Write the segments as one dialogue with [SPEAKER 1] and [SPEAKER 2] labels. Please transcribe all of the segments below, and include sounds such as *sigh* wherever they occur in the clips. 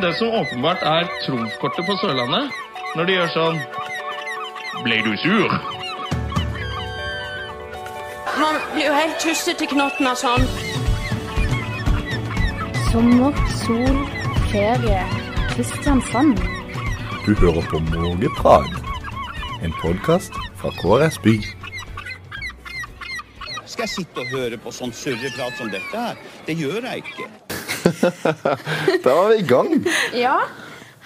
[SPEAKER 1] Det som åpenbart er trumfkortet på Sørlandet, når de gjør sånn Ble du sur?
[SPEAKER 2] Man blir jo helt tussete i knotten av sånn.
[SPEAKER 3] Sommer, sol, ferie. Kristiansand.
[SPEAKER 4] Du hører på Mågeprat, en podkast fra KrS By.
[SPEAKER 5] Skal jeg sitte og høre på sånn surreprat som dette her? Det gjør jeg ikke.
[SPEAKER 4] Da var vi i gang.
[SPEAKER 3] Ja,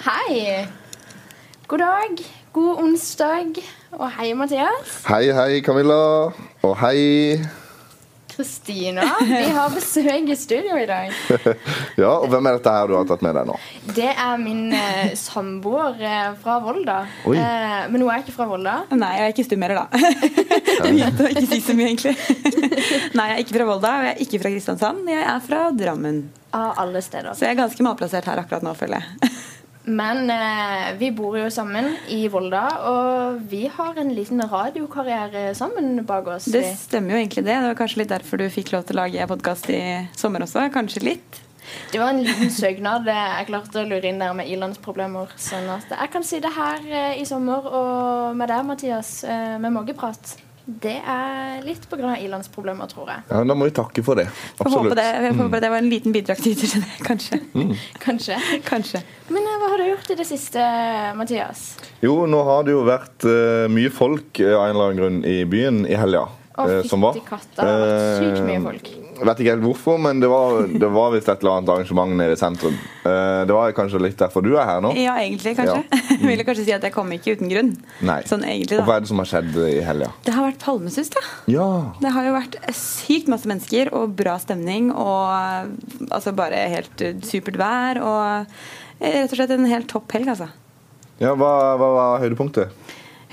[SPEAKER 3] hei. God dag, god onsdag, og hei, Mathias.
[SPEAKER 4] Hei, hei, Camilla. Og hei.
[SPEAKER 3] Kristina. Vi har besøk i studio i dag.
[SPEAKER 4] Ja, og hvem er dette her du har tatt med deg nå?
[SPEAKER 3] Det er min eh, samboer eh, fra Volda.
[SPEAKER 4] Oi.
[SPEAKER 3] Eh, men hun er ikke fra Volda.
[SPEAKER 6] Nei, jeg er ikke stummer, da.
[SPEAKER 4] *laughs*
[SPEAKER 6] Jeg begynte å ikke si så mye, egentlig. Nei, jeg er ikke fra Volda, og jeg er ikke fra Kristiansand. Jeg er fra Drammen.
[SPEAKER 3] Av alle steder.
[SPEAKER 6] Så jeg er ganske malplassert her akkurat nå, føler jeg.
[SPEAKER 3] Men eh, vi bor jo sammen i Volda, og vi har en liten radiokarriere sammen bak oss.
[SPEAKER 6] Det
[SPEAKER 3] vi.
[SPEAKER 6] stemmer jo egentlig det. Det var kanskje litt derfor du fikk lov til å lage podkast i sommer også. Kanskje litt.
[SPEAKER 3] Det var en liten søknad eh, jeg klarte å lure inn der med ilandsproblemer. Sånn at jeg kan si det her eh, i sommer og med deg, Mathias, eh, med mågeprat. Det er litt pga. ilandsproblemer, tror jeg.
[SPEAKER 4] Ja, Da må vi takke for det.
[SPEAKER 6] Får håpe det, jeg
[SPEAKER 4] Mm.
[SPEAKER 6] håper det var en liten bidragsyter til det, *laughs* kanskje.
[SPEAKER 3] Kanskje.
[SPEAKER 6] Kanskje.
[SPEAKER 3] Men eh, hva har du gjort i det siste, Mathias?
[SPEAKER 4] Jo, nå har det jo vært eh, mye folk eh, av en eller annen grunn i byen i helga.
[SPEAKER 3] Å,
[SPEAKER 4] eh, som var.
[SPEAKER 3] fytti katta, det har vært
[SPEAKER 4] Eh,
[SPEAKER 3] sykt mye folk.
[SPEAKER 4] Vet ikke helt hvorfor, men det var, det var visst et eller annet arrangement nede i sentrum. Eh, det var kanskje litt derfor du er her nå?
[SPEAKER 6] Ja, egentlig, kanskje. *laughs* Jeg ville kanskje si at jeg kom ikke uten grunn.
[SPEAKER 4] Mm. Nei.
[SPEAKER 6] Sånn egentlig,
[SPEAKER 4] Og hva
[SPEAKER 6] da.
[SPEAKER 4] er det som har skjedd i helga?
[SPEAKER 6] Det har vært palmesus, da.
[SPEAKER 4] Ja.
[SPEAKER 6] Det har jo vært sykt masse mennesker og bra stemning og eh, altså bare helt eh, supert vær og eh, rett og slett en helt topp helg, altså.
[SPEAKER 4] ja hva, hva var høydepunktet?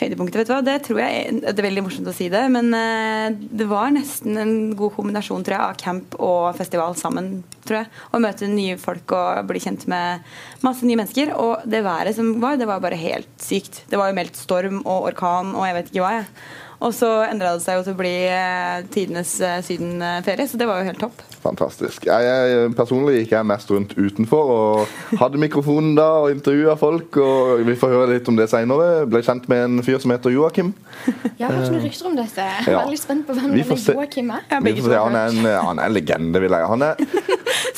[SPEAKER 6] Høydepunktet, vet du hva, det tror jeg det er veldig morsomt å si det, men eh, det var nesten en god kombinasjon, tror jeg, av camp og festival sammen, tror jeg. Å møte nye folk og bli kjent med masse nye mennesker. Og det været som var, det var bare helt sykt. Det var jo meldt storm og orkan og jeg vet ikke hva, jeg. Og så endra det seg jo til å bli eh, tidenes eh, sydenferie, så det var jo helt topp.
[SPEAKER 4] Fantastisk. Jeg, jeg, personlig gikk jeg mest rundt utenfor og hadde mikrofonen da og intervjua folk. og Vi får høre litt om det seinere. Ble kjent med en fyr som heter Joakim.
[SPEAKER 3] Jeg har hørt noen rykter om dette. Jeg er
[SPEAKER 4] Eh, ja.
[SPEAKER 3] veldig spent på hvem
[SPEAKER 4] Vi får
[SPEAKER 3] denne
[SPEAKER 4] se.
[SPEAKER 3] Joakim er.
[SPEAKER 6] Ja,
[SPEAKER 4] Vi
[SPEAKER 6] begge
[SPEAKER 4] får se,
[SPEAKER 6] to har
[SPEAKER 4] han, er en, han er en legende, vil jeg. Han er,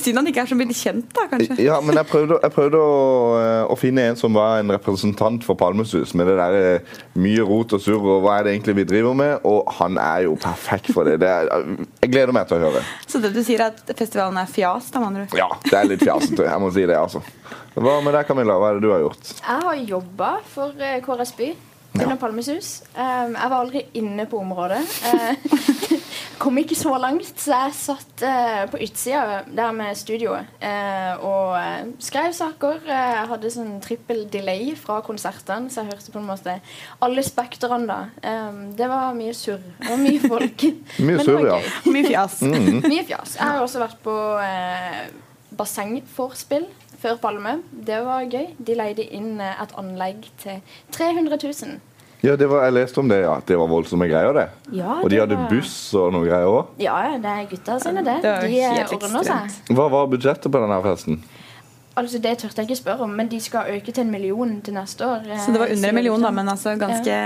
[SPEAKER 6] Synd han ikke er så mye kjent, da, kanskje.
[SPEAKER 4] ja, men jeg prøvde, jeg prøvde å, eh, å finne en som var en representant for Palmesus, med det der eh, mye rot og surr og hva er det egentlig vi driver med, og han er jo perfekt for det. det er, jeg gleder meg til å høre.
[SPEAKER 6] Så det du sier er at festivalen er fjas, da, med andre ord?
[SPEAKER 4] Ja, det er litt fjasete. Jeg må si det, altså. Hva med deg, Camilla? Hva er det du har gjort?
[SPEAKER 3] Jeg har jobba for eh, KRS By under Palmesus. Um, jeg var aldri inne på området. Eh, *laughs* kom ikke så langt, så jeg satt eh, på utsida der med studioet eh, og eh, skrev saker. Eh, Jeg hadde sånn trippel delay fra konsertene, så jeg hørte på en måte alle spekterne da. Um, det var mye surr og mye
[SPEAKER 4] *laughs*
[SPEAKER 3] folk. Men det var
[SPEAKER 4] surr, ja.
[SPEAKER 3] gøy.
[SPEAKER 6] Mye fjas.
[SPEAKER 3] Mye fjas. Jeg har også vært på eh, bassengforspill før Palme. Det var gøy. De leide inn eh, et anlegg til 300 000.
[SPEAKER 4] Ja, det var, jeg leste om det, ja. At det var voldsomme greier, det.
[SPEAKER 3] Ja,
[SPEAKER 4] og de
[SPEAKER 3] det
[SPEAKER 4] hadde
[SPEAKER 3] var-
[SPEAKER 4] buss og noe greier òg.
[SPEAKER 3] Ja, ja, det er gutta sine, det.
[SPEAKER 6] Det var
[SPEAKER 3] De eh,
[SPEAKER 6] helt
[SPEAKER 3] ordner seg.
[SPEAKER 6] ekstremt.
[SPEAKER 4] Hva var budsjettet på denne festen?
[SPEAKER 3] Altså, Det turte jeg ikke spørre om, men de skal øke til en million til neste år. eh,
[SPEAKER 6] Så det var under
[SPEAKER 3] sier
[SPEAKER 6] en million, da,
[SPEAKER 3] de.
[SPEAKER 6] men altså ganske,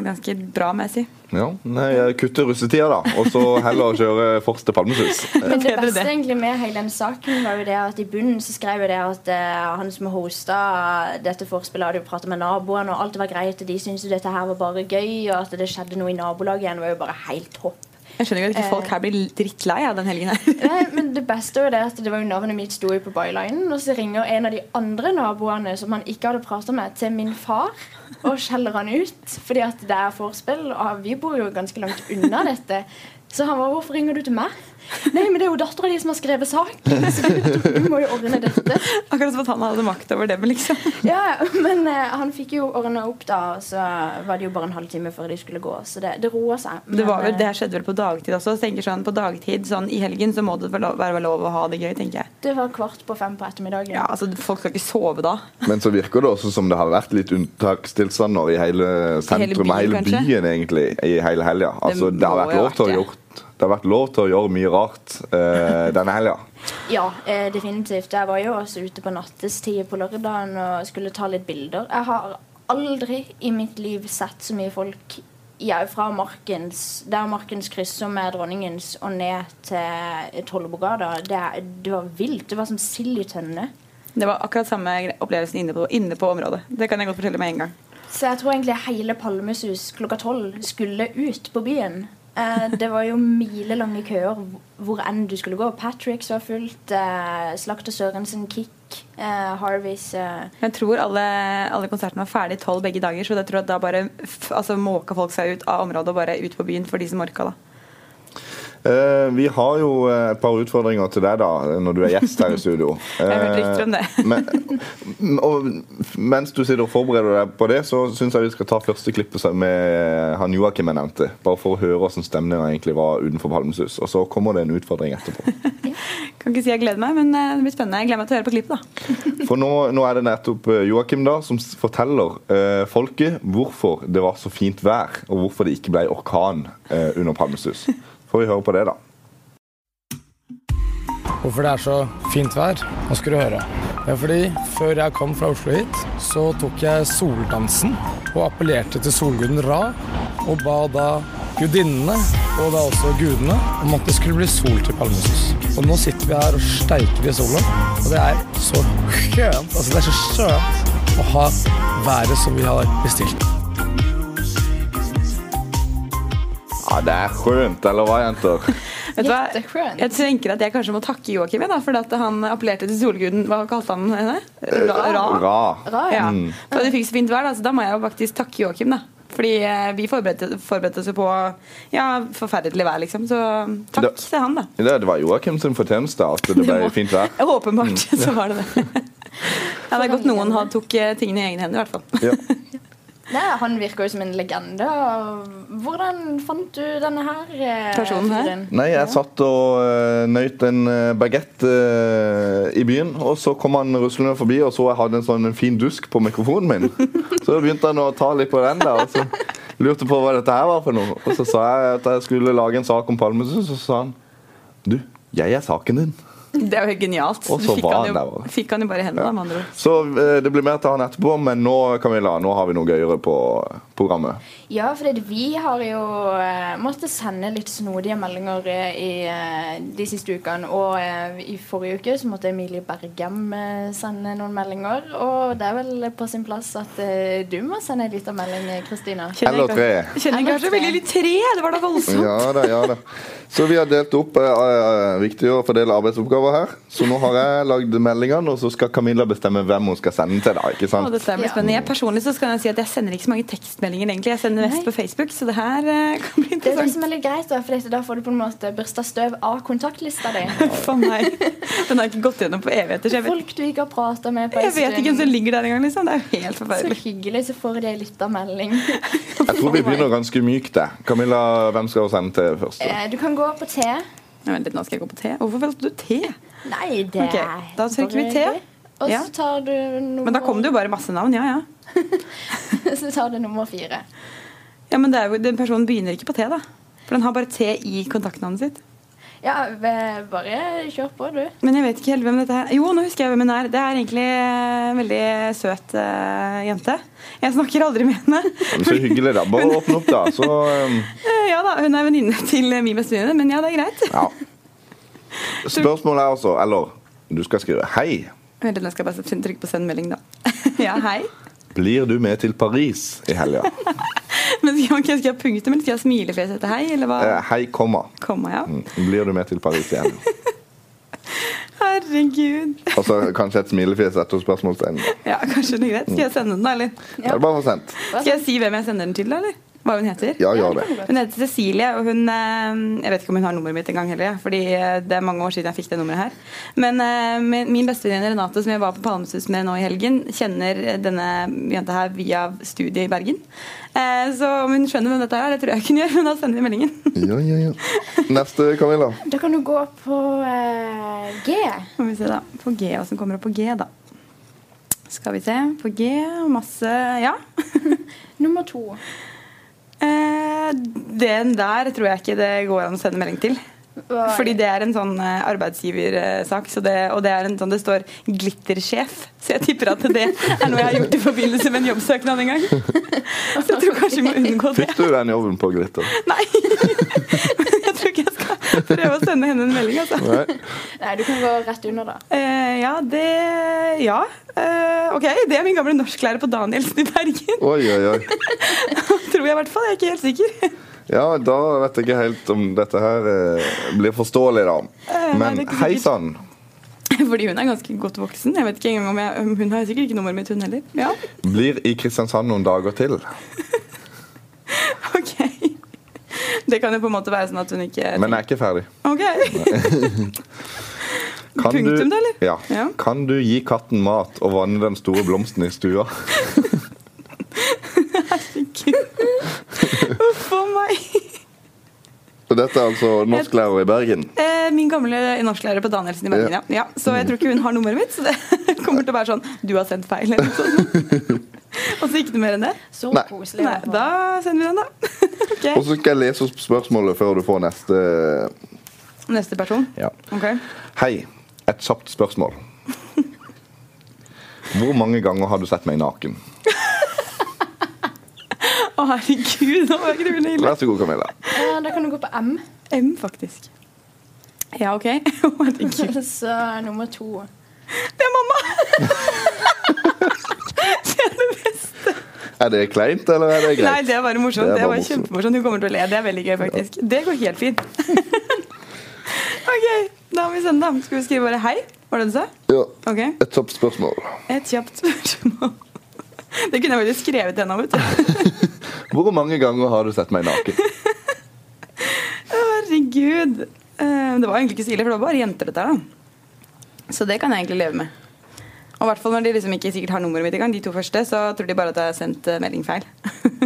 [SPEAKER 6] ganske bra, må jeg si.
[SPEAKER 4] Ja, nei, Kutte russetida, da. Og så heller kjøre Fors til Palmesus.
[SPEAKER 3] Men det
[SPEAKER 6] Bedre
[SPEAKER 3] beste
[SPEAKER 6] det.
[SPEAKER 3] egentlig med hele den saken var jo det at i bunnen så skrev jo det at eh, han som hosta dette forspillet, hadde jo pratet med naboene, og alt var greit, og de syntes jo dette her var bare gøy, og at det skjedde noe i nabolaget igjen, var jo bare helt topp.
[SPEAKER 6] Jeg skjønner ikke at ikke folk her blir drittlei av den helgen her. *laughs*
[SPEAKER 3] Nei, men det beste var jo det at det var jo navnet mitt sto jo på bylinen, og så ringer en av de andre naboene som han ikke hadde pratet med, til min far og skjeller han ut, fordi at det er forspill, og vi bor jo ganske langt unna dette. Så han var, hvorfor ringer du til meg? Nei, men det er jo datteren din som har skrevet saken, så du, du må jo ordne dette.
[SPEAKER 6] Akkurat som at han hadde makt over dem, liksom.
[SPEAKER 3] Ja, men eh, han fikk jo ordna opp da, og så var det jo bare en halvtime før de skulle gå, så det, det roa seg.
[SPEAKER 6] Det, var
[SPEAKER 3] Men,
[SPEAKER 6] vel, det
[SPEAKER 3] eh,
[SPEAKER 6] her skjedde vel på dagtid også. Så jeg tenker sånn, På dagtid sånn i helgen så må det vel lov- være lov å ha det gøy, tenker jeg.
[SPEAKER 3] eh, det var kvart på fem på ettermiddagen.
[SPEAKER 6] Ja, altså Folk skal ikke sove da.
[SPEAKER 4] Men så virker det også som det har vært litt unntakstilstander i hele sentrum,
[SPEAKER 6] byen,
[SPEAKER 4] hele byen,
[SPEAKER 6] kanskje?
[SPEAKER 4] egentlig, i hele helga. Altså,
[SPEAKER 6] Det
[SPEAKER 4] det har
[SPEAKER 6] må
[SPEAKER 4] vært
[SPEAKER 6] jo
[SPEAKER 4] lov til å ha
[SPEAKER 6] vært det.
[SPEAKER 4] gjort det har vært lov til å gjøre mye rart eh, denne helga.
[SPEAKER 3] Ja, eh, definitivt. Jeg var jo også ute på nattestid på lørdagen og skulle ta litt bilder. Jeg har aldri i mitt liv sett så mye folk ja, fra Markens, der Markens krysser med Dronningens og ned til Tollebogata. Det, er- det var vilt. Det var som sild i tønne.
[SPEAKER 6] Det var akkurat samme gre- opplevelsen inne på, inne på området. Det kan jeg godt fortelle med en gang.
[SPEAKER 3] Så jeg tror egentlig hele Palmesus klokka tolv skulle ut på byen. Eh, det var jo milelange køer hvor enn du skulle gå. Patricks var fullt. Eh, Slakter Sørensen, Kick, eh, Harveys eh,
[SPEAKER 6] Jeg tror alle, alle konsertene var ferdig tolv begge dager, så jeg tror at da bare f altså, måka folk seg ut av området og bare ut på byen for de som orka, da.
[SPEAKER 4] Eh, vi har jo eh, et par utfordringer til deg da, når du er gjest her i studio.
[SPEAKER 6] *laughs* Jeg har hørt rykter om det.
[SPEAKER 4] Eh, men, og mens du sitter og forbereder deg på det, så syns jeg vi skal ta første klippet som- med eh, han Joakim jeg nevnte. Bare for å høre hvordan stemninga egentlig var utenfor Palmesus. Og så kommer det en utfordring etterpå.
[SPEAKER 6] Kan ikke si jeg gleder meg, men eh, det blir spennende. Jeg gleder meg til å høre på klippet, da.
[SPEAKER 4] For nå, nå er det nettopp eh, Joakim da som s- forteller eh, folket hvorfor det var så fint vær, og hvorfor det ikke ble orkan eh, under Palmesus. Får vi høre på det, da.
[SPEAKER 7] Hvorfor det er så fint vær? Nå skal du høre. Det er fordi før jeg kom fra Oslo hit, så tok jeg soldansen og appellerte til solguden Ra, og ba da gudinnene, og da også gudene, om at det skulle bli sol til Palmesus. Og nå sitter vi her og steiker i sola, og det er så skjønt, altså det er så skjønt å ha været som vi har bestilt.
[SPEAKER 4] Ja, det er skjønt, eller hva, jenter?
[SPEAKER 6] Vet du hva?
[SPEAKER 3] Jätteskönt.
[SPEAKER 6] Jeg tenker at jeg kanskje må takke Joakim jeg, da, for at han appellerte til solguden. Hva kalte han henne? Ra? Ra.
[SPEAKER 4] Ra. Mm.
[SPEAKER 3] Ra, ja.
[SPEAKER 6] Ja. For at vi fikk så fint vær, da, så da må jeg jo faktisk takke Joakim, da. Fordi eh, vi forberedte, forberedte oss jo på ja, forferdelig vær, liksom. Så takk
[SPEAKER 4] Da-
[SPEAKER 6] til han, da.
[SPEAKER 4] Det, det var Joakim sin fortjeneste at det ble fint vær.
[SPEAKER 6] *laughs*
[SPEAKER 4] Mm.
[SPEAKER 6] Åpenbart så var det det. Ja, det er godt noen hadde- tok eh, tingene i egne hender, i hvert fall.
[SPEAKER 4] Ja.
[SPEAKER 3] Nei, Han virker jo som en legende. og Hvordan fant du denne her? eh,
[SPEAKER 6] Personen her?
[SPEAKER 3] fyren?
[SPEAKER 4] Nei, jeg satt og uh, nøyt en uh, bagett eh, i byen, og så kom han ruslende forbi og så jeg hadde en sånn fin dusk på mikrofonen min. Så begynte han å ta litt på den der, og så lurte på hva dette her var for noe. Og så sa jeg at jeg skulle lage en sak om Palmesus, og så sa han du, jeg er saken din.
[SPEAKER 6] *laughs* Det er jo helt genialt.
[SPEAKER 4] Og så
[SPEAKER 6] Fikk
[SPEAKER 4] var
[SPEAKER 6] han
[SPEAKER 4] han
[SPEAKER 6] jo,
[SPEAKER 4] der også.
[SPEAKER 6] Fikk han jo bare i hendene, da, med andre ord.
[SPEAKER 4] Så eh, det blir mer til han etterpå, men nå Camilla, nå har vi noe gøyere på programmet.
[SPEAKER 3] Ja, for det, vi har jo eh, måttet sende litt snodige meldinger eh, i eh, de siste ukene. Og eh, i forrige uke så måtte Emilie Bergem eh, sende noen meldinger. Og det er vel på sin plass at eh, du må sende en liten melding, eh, Kristina.
[SPEAKER 6] Kjenner
[SPEAKER 4] Eller
[SPEAKER 6] jeg
[SPEAKER 4] tre.
[SPEAKER 6] kanskje- Kjenner jeg kanskje veldig litt tre. Det var da voldsomt.
[SPEAKER 4] Ja da, ja da. Så vi har delt opp eh, eh, viktig å fordele arbeidsoppgaver her. Så nå har jeg lagd meldingene, og så skal Camilla bestemme hvem hun skal sende til. da, ikke
[SPEAKER 6] Og
[SPEAKER 4] sant?
[SPEAKER 6] dette blir spennende. Jeg personlig så skal jeg si at jeg sender ikke så mange tekstmeldinger, egentlig. Jeg sender mest på Facebook, så det her eh, *laughs* kan bli
[SPEAKER 3] Det er det
[SPEAKER 6] interessant.
[SPEAKER 3] som er litt greit, da, for dette, da får du på en måte børsta støv av kontaktlista
[SPEAKER 6] *laughs*
[SPEAKER 3] di.
[SPEAKER 6] For meg. Den har jeg ikke gått gjennom på evigheter, så jeg vet,
[SPEAKER 3] Folk du ikke har prata med på en
[SPEAKER 6] jeg vet ikke hvem som ligger der engang, liksom. Det er jo helt
[SPEAKER 3] Så
[SPEAKER 6] forferdelig.
[SPEAKER 3] hyggelig, så får de ei lita melding.
[SPEAKER 4] Jeg tror vi begynner ganske mykt. der. Camilla, hvem skal hun sende til først? da?
[SPEAKER 3] Eh, Du kan gå på T.
[SPEAKER 6] Nei, Vent litt, nå skal jeg gå på te. Hvorfor valgte du te?
[SPEAKER 3] Nei, det
[SPEAKER 6] Ok, da trykker vi T.
[SPEAKER 3] Og
[SPEAKER 6] Ja.
[SPEAKER 3] så tar du nummer
[SPEAKER 6] Men da kom det jo bare masse navn, ja ja.
[SPEAKER 3] *laughs* Så tar du nummer fire.
[SPEAKER 6] Ja, men det er jo, Den personen begynner ikke på te, da. For den har bare te i kontaktnavnet sitt.
[SPEAKER 3] Ja, ve- bare kjør på, du.
[SPEAKER 6] Men jeg vet ikke helt hvem dette er. Jo, nå husker jeg hvem hun er. Det er egentlig en veldig søt eh, jente. Jeg snakker aldri med henne.
[SPEAKER 4] Men Så hyggelig, da. Bare åpne opp, da. Så eh,
[SPEAKER 6] Eh, Ja da, hun er venninne til eh, min bestevenninne, men ja, det er greit.
[SPEAKER 4] ja. Spørsmålet er altså, eller du skal skrive Hei,
[SPEAKER 6] Vent litt, jeg skal bare trykke på send melding, da. *laughs* Ja, hei.
[SPEAKER 4] blir du med til Paris i helga?
[SPEAKER 6] Men skal, ok, skal jeg ha punktum, eller skal jeg ha smilefjes etter hei, eller hva?
[SPEAKER 4] Eh, Hei, komma.
[SPEAKER 6] Komma, ja.
[SPEAKER 4] Mm, Blir du med til Paris i helga?
[SPEAKER 6] Herregud.
[SPEAKER 4] Og så Altså, kanskje et smilefjes etter spørsmålstegn. da.
[SPEAKER 6] Ja, kanskje det er greit. Skal jeg sende den, da, eller?
[SPEAKER 4] Da er det bare å få sendt.
[SPEAKER 6] Skal jeg si hvem jeg sender den til, da, eller? Hva hun heter?
[SPEAKER 4] Ja, gjør det.
[SPEAKER 6] Hun heter Cecilie, og hun eh, Jeg vet ikke om hun har nummeret mitt engang heller, jeg, fordi eh, det er mange år siden jeg fikk det nummeret her. Men eh, min min bestevenninne Renate, som jeg var på Palmesus med nå i helgen, kjenner eh, denne jenta her via studiet i Bergen. Eh, Så om hun skjønner hvem dette er, det tror jeg ikke hun gjør, men da sender vi meldingen. *laughs*
[SPEAKER 4] Ja, ja, ja. Neste, Camilla.
[SPEAKER 3] Da kan du gå på eh, G.
[SPEAKER 6] Får vi se, da. På G, hva som kommer opp på G, da. Skal vi se. På G, masse Ja. *laughs*
[SPEAKER 3] Nummer to.
[SPEAKER 6] Eh, Den der tror jeg ikke det går an å sende melding til.
[SPEAKER 3] Hva-
[SPEAKER 6] Fordi det er en sånn eh, arbeidsgiversak, så det, og det er en sånn det står 'glittersjef'. Så jeg tipper at det er noe jeg har gjort i forbindelse med en jobbsøknad en gang. *laughs* Så jeg tror kanskje vi må unngå det.
[SPEAKER 4] Fikk du den jobben på Glitter?
[SPEAKER 6] Nei! *laughs* Jeg tror ikke jeg skal prøve å sende henne en melding, altså.
[SPEAKER 4] Nei.
[SPEAKER 3] Nei, du kan gå rett under, da.
[SPEAKER 6] Eh, ja, det Ja. Eh, ok, det er min gamle norsklærer på Danielsen i Bergen. *laughs*
[SPEAKER 4] Oi, oi, oi.
[SPEAKER 6] Tror jeg i hvert fall. Jeg er ikke helt sikker. *laughs*
[SPEAKER 4] Ja, da vet jeg ikke helt om dette her eh, blir forståelig, da.
[SPEAKER 6] Eh, nei,
[SPEAKER 4] Men
[SPEAKER 6] det er ikke
[SPEAKER 4] hei
[SPEAKER 6] sikkert.
[SPEAKER 4] sann.
[SPEAKER 6] Fordi hun er ganske godt voksen. Jeg vet ikke engang om jeg, om Hun har sikkert ikke nummeret mitt, hun heller. Ja,
[SPEAKER 4] Blir i Kristiansand noen dager til.
[SPEAKER 6] ok Det kan jo på en måte være sånn at hun ikke
[SPEAKER 4] Men jeg er ikke ferdig. *laughs*
[SPEAKER 6] Ok. Punktum, da, eller?
[SPEAKER 4] Ja.
[SPEAKER 6] Ja.
[SPEAKER 4] Kan du gi katten mat og vanne den store blomsten i stua?
[SPEAKER 6] Herregud. Uff oh a meg.
[SPEAKER 4] Og dette er altså norsklærer i Bergen.
[SPEAKER 6] Eh, Min gamle norsklærer på Danielsen i Bergen, ja. ja. Så jeg tror ikke hun har nummeret mitt, så det *laughs* kommer til å være sånn Du har sendt feil, eller noe sånt. Og så ikke noe mer enn det.
[SPEAKER 3] Så
[SPEAKER 4] Nei.
[SPEAKER 3] koselig. altså.
[SPEAKER 6] Nei, da sender vi den, da. *laughs*
[SPEAKER 4] Og
[SPEAKER 6] Ok.
[SPEAKER 4] så skal jeg lese opp spørsmålet før du får neste. eh,
[SPEAKER 6] Neste person.
[SPEAKER 4] Ja.
[SPEAKER 6] Ok.
[SPEAKER 4] Hei. Et kjapt spørsmål. Hvor mange ganger har du sett meg naken?
[SPEAKER 6] Å, herregud, nå var ikke det veldig ille.
[SPEAKER 4] Vær så god, Camilla.
[SPEAKER 3] Eh, Da kan du gå på M.
[SPEAKER 6] M, faktisk. Ja, OK. *laughs* Å, herregud.
[SPEAKER 3] *laughs* Så nummer to.
[SPEAKER 6] Det er mamma! *laughs*
[SPEAKER 4] Er det kleint, eller er det
[SPEAKER 6] Nei,
[SPEAKER 4] greit?
[SPEAKER 6] det er bare morsomt.
[SPEAKER 4] Det
[SPEAKER 6] Det
[SPEAKER 4] er bare
[SPEAKER 6] er bare
[SPEAKER 4] morsomt.
[SPEAKER 6] kjempemorsomt. Hun kommer til å le. Det er veldig gøy, faktisk. Det går helt fint. *laughs* OK, da må vi sende, da. Skal vi skrive bare 'hei'? Var det det du sa?
[SPEAKER 4] Ja.
[SPEAKER 6] Ok.
[SPEAKER 4] Et kjapt
[SPEAKER 6] *laughs*
[SPEAKER 4] spørsmål.
[SPEAKER 6] Et kjapt spørsmål. *laughs* Det kunne jeg vel skrevet ennå, vet du. *laughs*
[SPEAKER 4] Hvor mange ganger har du sett meg naken?
[SPEAKER 6] Herregud. Eh, Det var egentlig ikke så ille, for det var bare jenter, dette her, da. Så det kan jeg egentlig leve med. Og i hvert fall når de liksom ikke sikkert har nummeret mitt engang, de to første, så tror de bare at jeg har sendt eh, melding feil.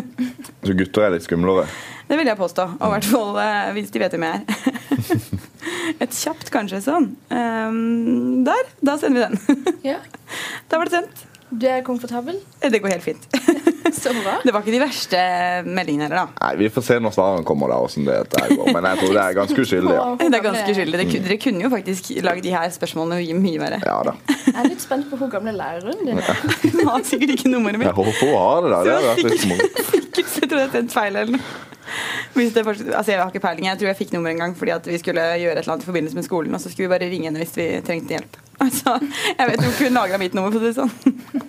[SPEAKER 6] *laughs*
[SPEAKER 4] Så gutter er litt skumlere.
[SPEAKER 6] Det vil jeg påstå. Og i hvert fall eh, hvis de vet hvem jeg er. *laughs* Et kjapt kanskje sånn. Ehm, der. Da sender vi den. *laughs*
[SPEAKER 3] Ja.
[SPEAKER 6] Da var det sendt.
[SPEAKER 3] Du er
[SPEAKER 6] *laughs*
[SPEAKER 3] komfortabel?
[SPEAKER 6] Eh, Det går helt fint.
[SPEAKER 3] Så bra.
[SPEAKER 6] Det var ikke de verste eh, meldingene heller, da.
[SPEAKER 4] Nei, Vi får se når svarene kommer, da, hvordan det dette her går. Men jeg tror det er ganske uskyldig. Ja,
[SPEAKER 6] Det er ganske uskyldig. Det ku- Dere kunne jo faktisk lagd de her spørsmålene mye- mye verre. *laughs*
[SPEAKER 4] ja da.
[SPEAKER 3] Jeg er litt spent på hvor gamle læreren din er.
[SPEAKER 6] Hun har sikkert ikke nummeret
[SPEAKER 4] Jeg
[SPEAKER 6] mitt.
[SPEAKER 4] håper hun har det, da. Det hadde vært litt moro.
[SPEAKER 6] Sikkert så jeg tror jeg har sendt feil eller noe. Hvis det fortsatt, altså jeg har ikke peiling. Jeg tror jeg fikk nummer en gang fordi at vi skulle gjøre et eller annet i forbindelse med skolen, og så skulle vi bare ringe henne hvis vi trengte hjelp. Altså, jeg vet jo ikke hun lagra mitt nummer, for å si det sånn.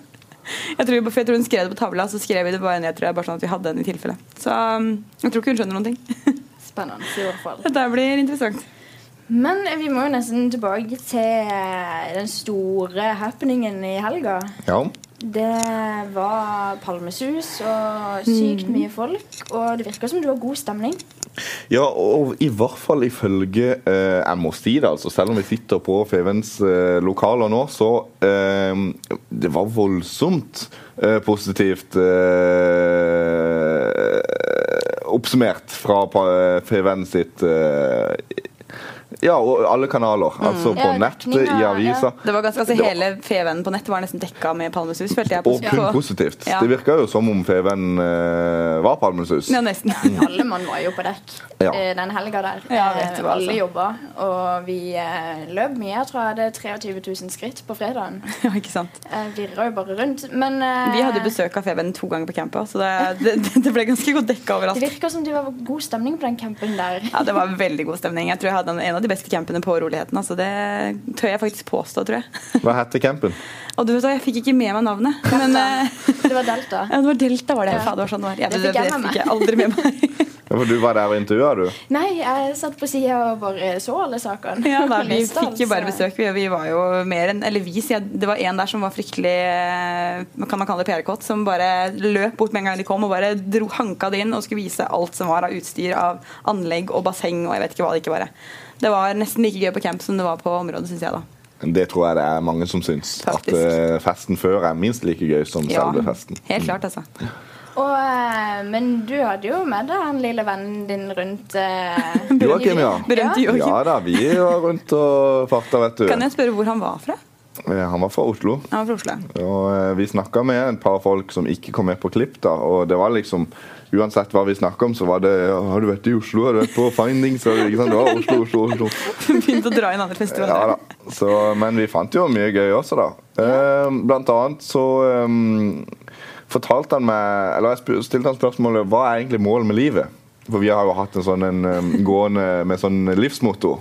[SPEAKER 6] Jeg tror, for jeg tror hun skrev det på tavla, så skrev vi det bare ned, tror jeg, bare sånn at vi hadde den i tilfelle. Så um, jeg tror ikke hun skjønner noen ting. *laughs*
[SPEAKER 3] Spennende, i hvert fall.
[SPEAKER 6] Dette blir interessant.
[SPEAKER 3] Men vi må jo nesten tilbake til eh, den store happeningen i helga.
[SPEAKER 4] Ja.
[SPEAKER 3] Det var palmesus og sykt
[SPEAKER 6] Mm.
[SPEAKER 3] mye folk, og det virka som det var god stemning.
[SPEAKER 4] Ja, og i hvert fall ifølge eh, jeg må si det, altså. Selv om vi sitter på Fevens eh, lokaler nå, så eh, Det var voldsomt eh, positivt eh, oppsummert fra pa- Feven sitt eh, Ja, og alle kanaler. Altså på
[SPEAKER 3] Ja,
[SPEAKER 4] nettet,
[SPEAKER 3] dekning,
[SPEAKER 4] i
[SPEAKER 3] ja,
[SPEAKER 4] aviser.
[SPEAKER 6] Det var ganske, altså
[SPEAKER 4] Det var-
[SPEAKER 6] Hele Fevennen på nettet var nesten dekka med palmesus, følte jeg. på-
[SPEAKER 4] Og kun
[SPEAKER 6] på-
[SPEAKER 4] positivt.
[SPEAKER 6] Ja.
[SPEAKER 4] Det virka jo som om Feven eh, var Palmesus.
[SPEAKER 6] Ja, nesten.
[SPEAKER 3] Alle mann var jo på dekk
[SPEAKER 4] Ja.
[SPEAKER 3] eh, den helga der.
[SPEAKER 6] Ja, vet du
[SPEAKER 3] Eh,
[SPEAKER 6] hva,
[SPEAKER 3] Alle
[SPEAKER 6] altså.
[SPEAKER 3] jobba, og vi eh, løp mye. Jeg tror jeg hadde 23 000 skritt på fredagen.
[SPEAKER 6] *laughs* Ja, ikke sant.
[SPEAKER 3] Jeg virra jo bare rundt. Men eh,
[SPEAKER 6] Vi hadde besøk av Feven to ganger på campet, så det, det, det ble ganske godt dekka
[SPEAKER 3] det
[SPEAKER 6] overalt.
[SPEAKER 3] virka som det var god stemning på den campen der.
[SPEAKER 6] Ja, Det var veldig god stemning. Jeg tror jeg hadde en av de beste campene på Roligheten. Altså, det tør jeg faktisk påstå, tror jeg. *laughs*
[SPEAKER 4] Hva heter campen?
[SPEAKER 6] Og du vet hva, jeg fikk ikke med meg
[SPEAKER 3] *laughs*
[SPEAKER 6] navnet. Men eh,
[SPEAKER 3] Det var Delta.
[SPEAKER 6] ja, det var Delta, var det. Ja. det var sånn det var. Ja,
[SPEAKER 3] Det
[SPEAKER 6] det, det,
[SPEAKER 3] fikk jeg med
[SPEAKER 6] fikk jeg aldri med meg.
[SPEAKER 3] *laughs*
[SPEAKER 6] *laughs*
[SPEAKER 4] Ja, for du var der og intervjua, du?
[SPEAKER 3] Nei, jeg satt på sida og bare så *laughs* alle sakene.
[SPEAKER 6] Ja, da,
[SPEAKER 3] Og
[SPEAKER 6] vi
[SPEAKER 3] leste alt,
[SPEAKER 6] fikk jo bare
[SPEAKER 3] så-
[SPEAKER 6] besøk. Vi, vi var jo mer enn Eller vi, sier jeg. Det var en der som var fryktelig eh, Kan man kalle det PR-kåt? Som bare løp bort med en gang de kom og bare dro, hanka det inn og skulle vise alt som var av utstyr, av anlegg og basseng og jeg vet ikke hva det ikke var. Det var nesten like gøy på camp som det var på området, syns jeg, da.
[SPEAKER 4] Det tror jeg det er mange som syns.
[SPEAKER 6] Faktisk.
[SPEAKER 4] At eh, festen før er minst like gøy som selve festen.
[SPEAKER 6] helt klart, altså.
[SPEAKER 3] Og, eh, men du hadde jo med deg han lille vennen din rundt eh,
[SPEAKER 4] *laughs* Joakim, ja.
[SPEAKER 6] Berømte Joakim.
[SPEAKER 4] Ja da, vi var rundt og farta, vet du.
[SPEAKER 6] Kan jeg spørre hvor han var fra?
[SPEAKER 4] Eh, Han var fra Oslo.
[SPEAKER 6] Han var fra Oslo. *laughs*
[SPEAKER 4] Og eh, vi snakka med et par folk som ikke kom med på klipp, da, og det var liksom uansett hva vi snakket om, så var det ja, 'Har du vært i Oslo? Har du vært på Findings?' Har du- Ikke sant? Det var Oslo, Oslo, Oslo.
[SPEAKER 6] Begynte å dra inn andre
[SPEAKER 4] Ja
[SPEAKER 6] festivaler.
[SPEAKER 4] da. Så, men vi fant jo mye gøy også, da. Eh, blant annet så eh, fortalte han meg Eller jeg sp- stilte han spørsmålet hva er egentlig målet med livet? For vi har jo hatt en sånn en, eh, gående med sånn livsmotto.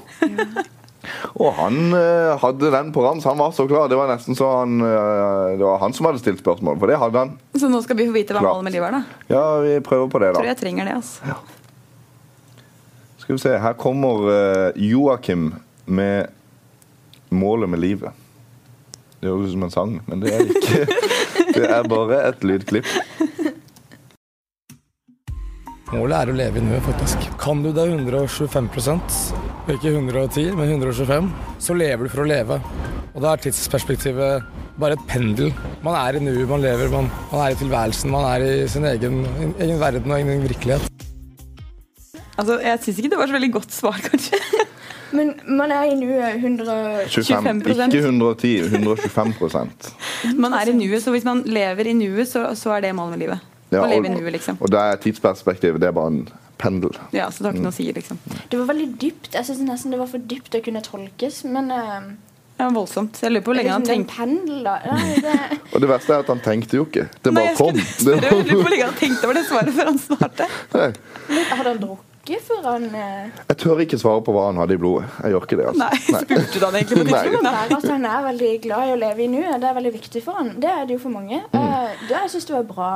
[SPEAKER 4] Og han eh, hadde den på rams. Han var så klar. Det var nesten så han eh, Det var han som hadde stilt spørsmål, for det hadde han.
[SPEAKER 6] Så nå skal vi få vite hva
[SPEAKER 4] Klart.
[SPEAKER 6] målet med livet er, da.
[SPEAKER 4] Ja, vi prøver på det,
[SPEAKER 6] Tror
[SPEAKER 4] da.
[SPEAKER 6] jeg trenger det, altså.
[SPEAKER 4] Skal vi se. Her kommer eh, Joakim med 'Målet med livet'. Det høres ut som en sang, men det er det
[SPEAKER 6] *laughs*
[SPEAKER 4] ikke. Det er bare et lydklipp.
[SPEAKER 7] Målet er å leve i nuet, faktisk. Kan du det 125 ikke 110, men 125, så lever du for å leve. Og da er tidsperspektivet bare et pendel. Man er i nuet, man lever, man, man er i tilværelsen, man er i sin egen, egen verden og egen virkelighet.
[SPEAKER 6] altså jeg syns ikke det var så veldig godt svar, *laughs* kanskje.
[SPEAKER 3] Men man er i eh, nuet 100
[SPEAKER 4] 25,
[SPEAKER 6] 25%.
[SPEAKER 4] ikke 110. 125
[SPEAKER 6] Man er i nuet, så hvis man lever i nuet, så, så er det målet med livet.
[SPEAKER 4] Ja,
[SPEAKER 6] å
[SPEAKER 4] og-
[SPEAKER 6] leve i nuet, liksom.
[SPEAKER 4] Og det er tidsperspektivet. Det er bare en pendel.
[SPEAKER 6] Ja, så det har ikke noe å si, liksom.
[SPEAKER 4] Mm.
[SPEAKER 3] Det var veldig dypt. Jeg synes nesten det var for dypt å kunne tolkes. Men eh,
[SPEAKER 6] Det var voldsomt. Så jeg lurer på hvor
[SPEAKER 3] det
[SPEAKER 6] lenge
[SPEAKER 3] er
[SPEAKER 6] han
[SPEAKER 3] liksom en
[SPEAKER 6] tenkte
[SPEAKER 3] pendel, da. Nei, det,
[SPEAKER 6] *laughs*
[SPEAKER 4] Og det verste er at han tenkte jo ikke. Det
[SPEAKER 6] Nei,
[SPEAKER 4] bare
[SPEAKER 6] jeg
[SPEAKER 4] kom.
[SPEAKER 6] skulle
[SPEAKER 4] Det
[SPEAKER 6] *laughs* spørre, jeg lurer på
[SPEAKER 4] var,
[SPEAKER 6] hvor lenge han tenkte over det svaret før han svarte.
[SPEAKER 4] Nei,
[SPEAKER 3] hadde han drukket før han eh,
[SPEAKER 4] jeg tør ikke svare på hva han hadde i blodet. Jeg gjør ikke det. altså.
[SPEAKER 6] Nei, spurte du han egentlig på
[SPEAKER 4] Nei.
[SPEAKER 6] tidsrommet? Nei.
[SPEAKER 3] At Altså, han er veldig glad i å leve i nuet. Det er veldig viktig for han. Det er det jo for mange.
[SPEAKER 4] Mm.
[SPEAKER 3] Eh, det jeg synes det var et bra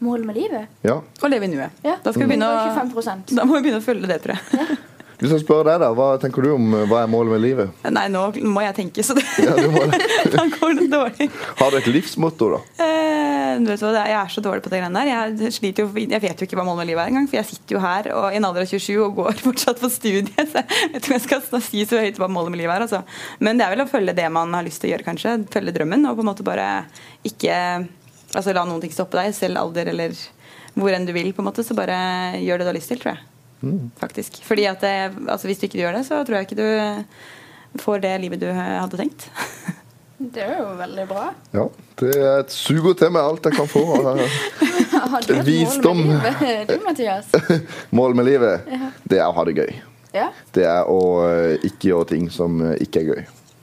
[SPEAKER 3] mål med livet.
[SPEAKER 4] Ja.
[SPEAKER 6] Å leve i nuet.
[SPEAKER 3] Ja.
[SPEAKER 6] Da skal vi begynne å
[SPEAKER 3] 25
[SPEAKER 6] da må vi begynne å følge det, tror jeg.
[SPEAKER 4] Hvis jeg spør deg, da, hva tenker du om eh, hva er målet med livet?
[SPEAKER 6] Nei, nå må jeg tenke, så det,
[SPEAKER 4] Ja, du
[SPEAKER 6] *laughs*
[SPEAKER 4] må det.
[SPEAKER 6] da går det dårlig.
[SPEAKER 4] Har du et livsmotto, da?
[SPEAKER 6] Eh, du vet hva, det er- Jeg er så dårlig på det greiene der. Jeg, sliter jo, jeg vet jo ikke hva målet med livet er engang. For jeg sitter jo her og, i en alder av 27 og går *laughs* fortsatt på studiet. Så jeg vet ikke om jeg skal sn- si så høyt hva målet med livet er. Altså. Men det er vel å følge det man har lyst til å gjøre, kanskje. Følge drømmen. Og på en måte bare ikke altså, la noen ting stoppe deg, selv alder eller hvor enn du vil. på en måte, Så bare gjør det du har lyst til, tror jeg. Faktisk. Fordi at det, altså, Hvis du ikke gjør det, så tror jeg ikke du får det livet du eh, hadde tenkt.
[SPEAKER 3] Det er jo veldig bra.
[SPEAKER 4] *laughs* Ja, det er et suger til meg alt jeg kan få. av
[SPEAKER 3] Har du et
[SPEAKER 4] Visdom.
[SPEAKER 3] mål med livet, du,
[SPEAKER 4] *laughs*
[SPEAKER 3] Mathias?
[SPEAKER 4] Målet med livet, det er å ha det gøy.
[SPEAKER 3] Ja.
[SPEAKER 4] Det er å eh, ikke gjøre ting som eh, ikke er gøy.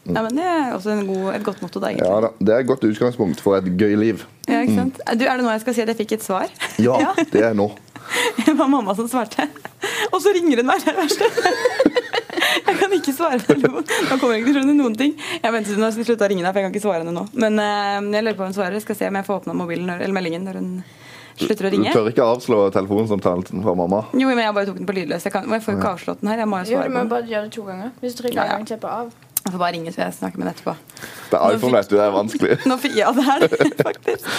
[SPEAKER 6] Ja, men Det er også en god, et godt motto, da. egentlig.
[SPEAKER 4] Ja da, Det er et godt utgangspunkt for et gøy liv.
[SPEAKER 6] Ja, ikke sant? Eh, Du, er det nå jeg skal si at jeg fikk et svar? *laughs*
[SPEAKER 4] Ja, det er nå.
[SPEAKER 6] Det var mamma som svarte. Og så ringer hun meg, det er det verste. *laughs* Jeg kan ikke svare på telefon. Nå kommer jeg ikke til å skjønne noen ting. Jeg venter til hun har sluttet å ringe deg, for jeg kan ikke svare henne nå. Men eh, jeg lurer på om hun svarer. Jeg skal se om jeg får åpna mobilen når, eller meldingen når hun slutter å
[SPEAKER 4] Du
[SPEAKER 6] ringe.
[SPEAKER 4] tør ikke avslå telefonsamtalen fra mamma?
[SPEAKER 6] Jo, men jeg bare tok den på lydløs. Jeg, kan, men jeg får jo ikke avslått den her. Jeg må jo
[SPEAKER 3] Jo, du
[SPEAKER 6] svare
[SPEAKER 3] må
[SPEAKER 6] på den.
[SPEAKER 3] bare gjøre det to ganger. Hvis du trykker
[SPEAKER 6] Ja,
[SPEAKER 3] en
[SPEAKER 6] ja.
[SPEAKER 3] gang, slipper av.
[SPEAKER 6] Jeg får bare ringe, så jeg snakker med henne etterpå.
[SPEAKER 4] Det er iPhone, vet du. Det er
[SPEAKER 6] *laughs*
[SPEAKER 4] vanskelig.
[SPEAKER 6] Nå fikk ja, det her, faktisk.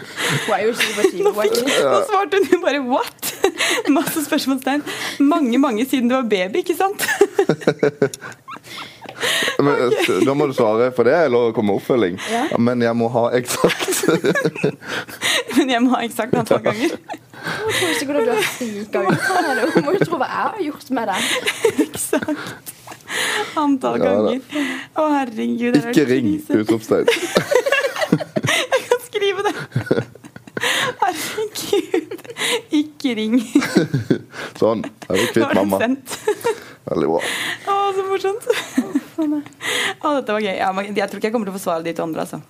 [SPEAKER 3] Hun er jo ikke på tide. Hun er ikke-
[SPEAKER 6] Nå svarte hun jo bare what? *laughs* Masse spørsmålstegn. Mange, mange siden du var baby, ikke sant?
[SPEAKER 4] Men, eh, Da må du svare for det, eller komme med oppfølging. Ja, Men jeg må ha eksakt.
[SPEAKER 6] Men jeg må ha eksakt antall ganger.
[SPEAKER 3] Hun tror sikkert at du har
[SPEAKER 6] *laughs*
[SPEAKER 3] fika ut fra henne. Hun må jo tro hva jeg har gjort med deg.
[SPEAKER 6] Eksakt
[SPEAKER 4] Ja,
[SPEAKER 6] antall
[SPEAKER 4] da.
[SPEAKER 6] ganger. Å, herregud. det er
[SPEAKER 4] Ikke ring!
[SPEAKER 6] krise.
[SPEAKER 4] Utropstegn.
[SPEAKER 6] Jeg kan skrive
[SPEAKER 4] *laughs*
[SPEAKER 6] det. Herregud. Ikke ring.
[SPEAKER 4] Sånn. Da er vi
[SPEAKER 6] Nå
[SPEAKER 4] kvitt
[SPEAKER 6] var den
[SPEAKER 4] mamma.
[SPEAKER 6] sendt.
[SPEAKER 4] Veldig bra.
[SPEAKER 6] Å, så morsomt. Å, dette var gøy. Ja, men jeg tror ikke jeg kommer til å få svar av de to andre, altså.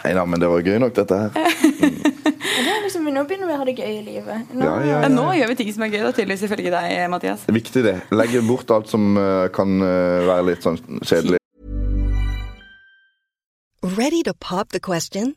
[SPEAKER 4] Nei da, men det var gøy nok, dette her.
[SPEAKER 3] Men det er liksom, nå begynner vi å ha det gøy i livet. Nå,
[SPEAKER 4] Ja, ja,
[SPEAKER 6] Men nå
[SPEAKER 4] ja.
[SPEAKER 6] gjør vi ting som er gøy, da, tydeligvis ifølge deg, Mathias.
[SPEAKER 4] Viktig, det. Legge bort alt som eh, kan eh, være litt sånn kjedelig.
[SPEAKER 8] Ready to pop the question?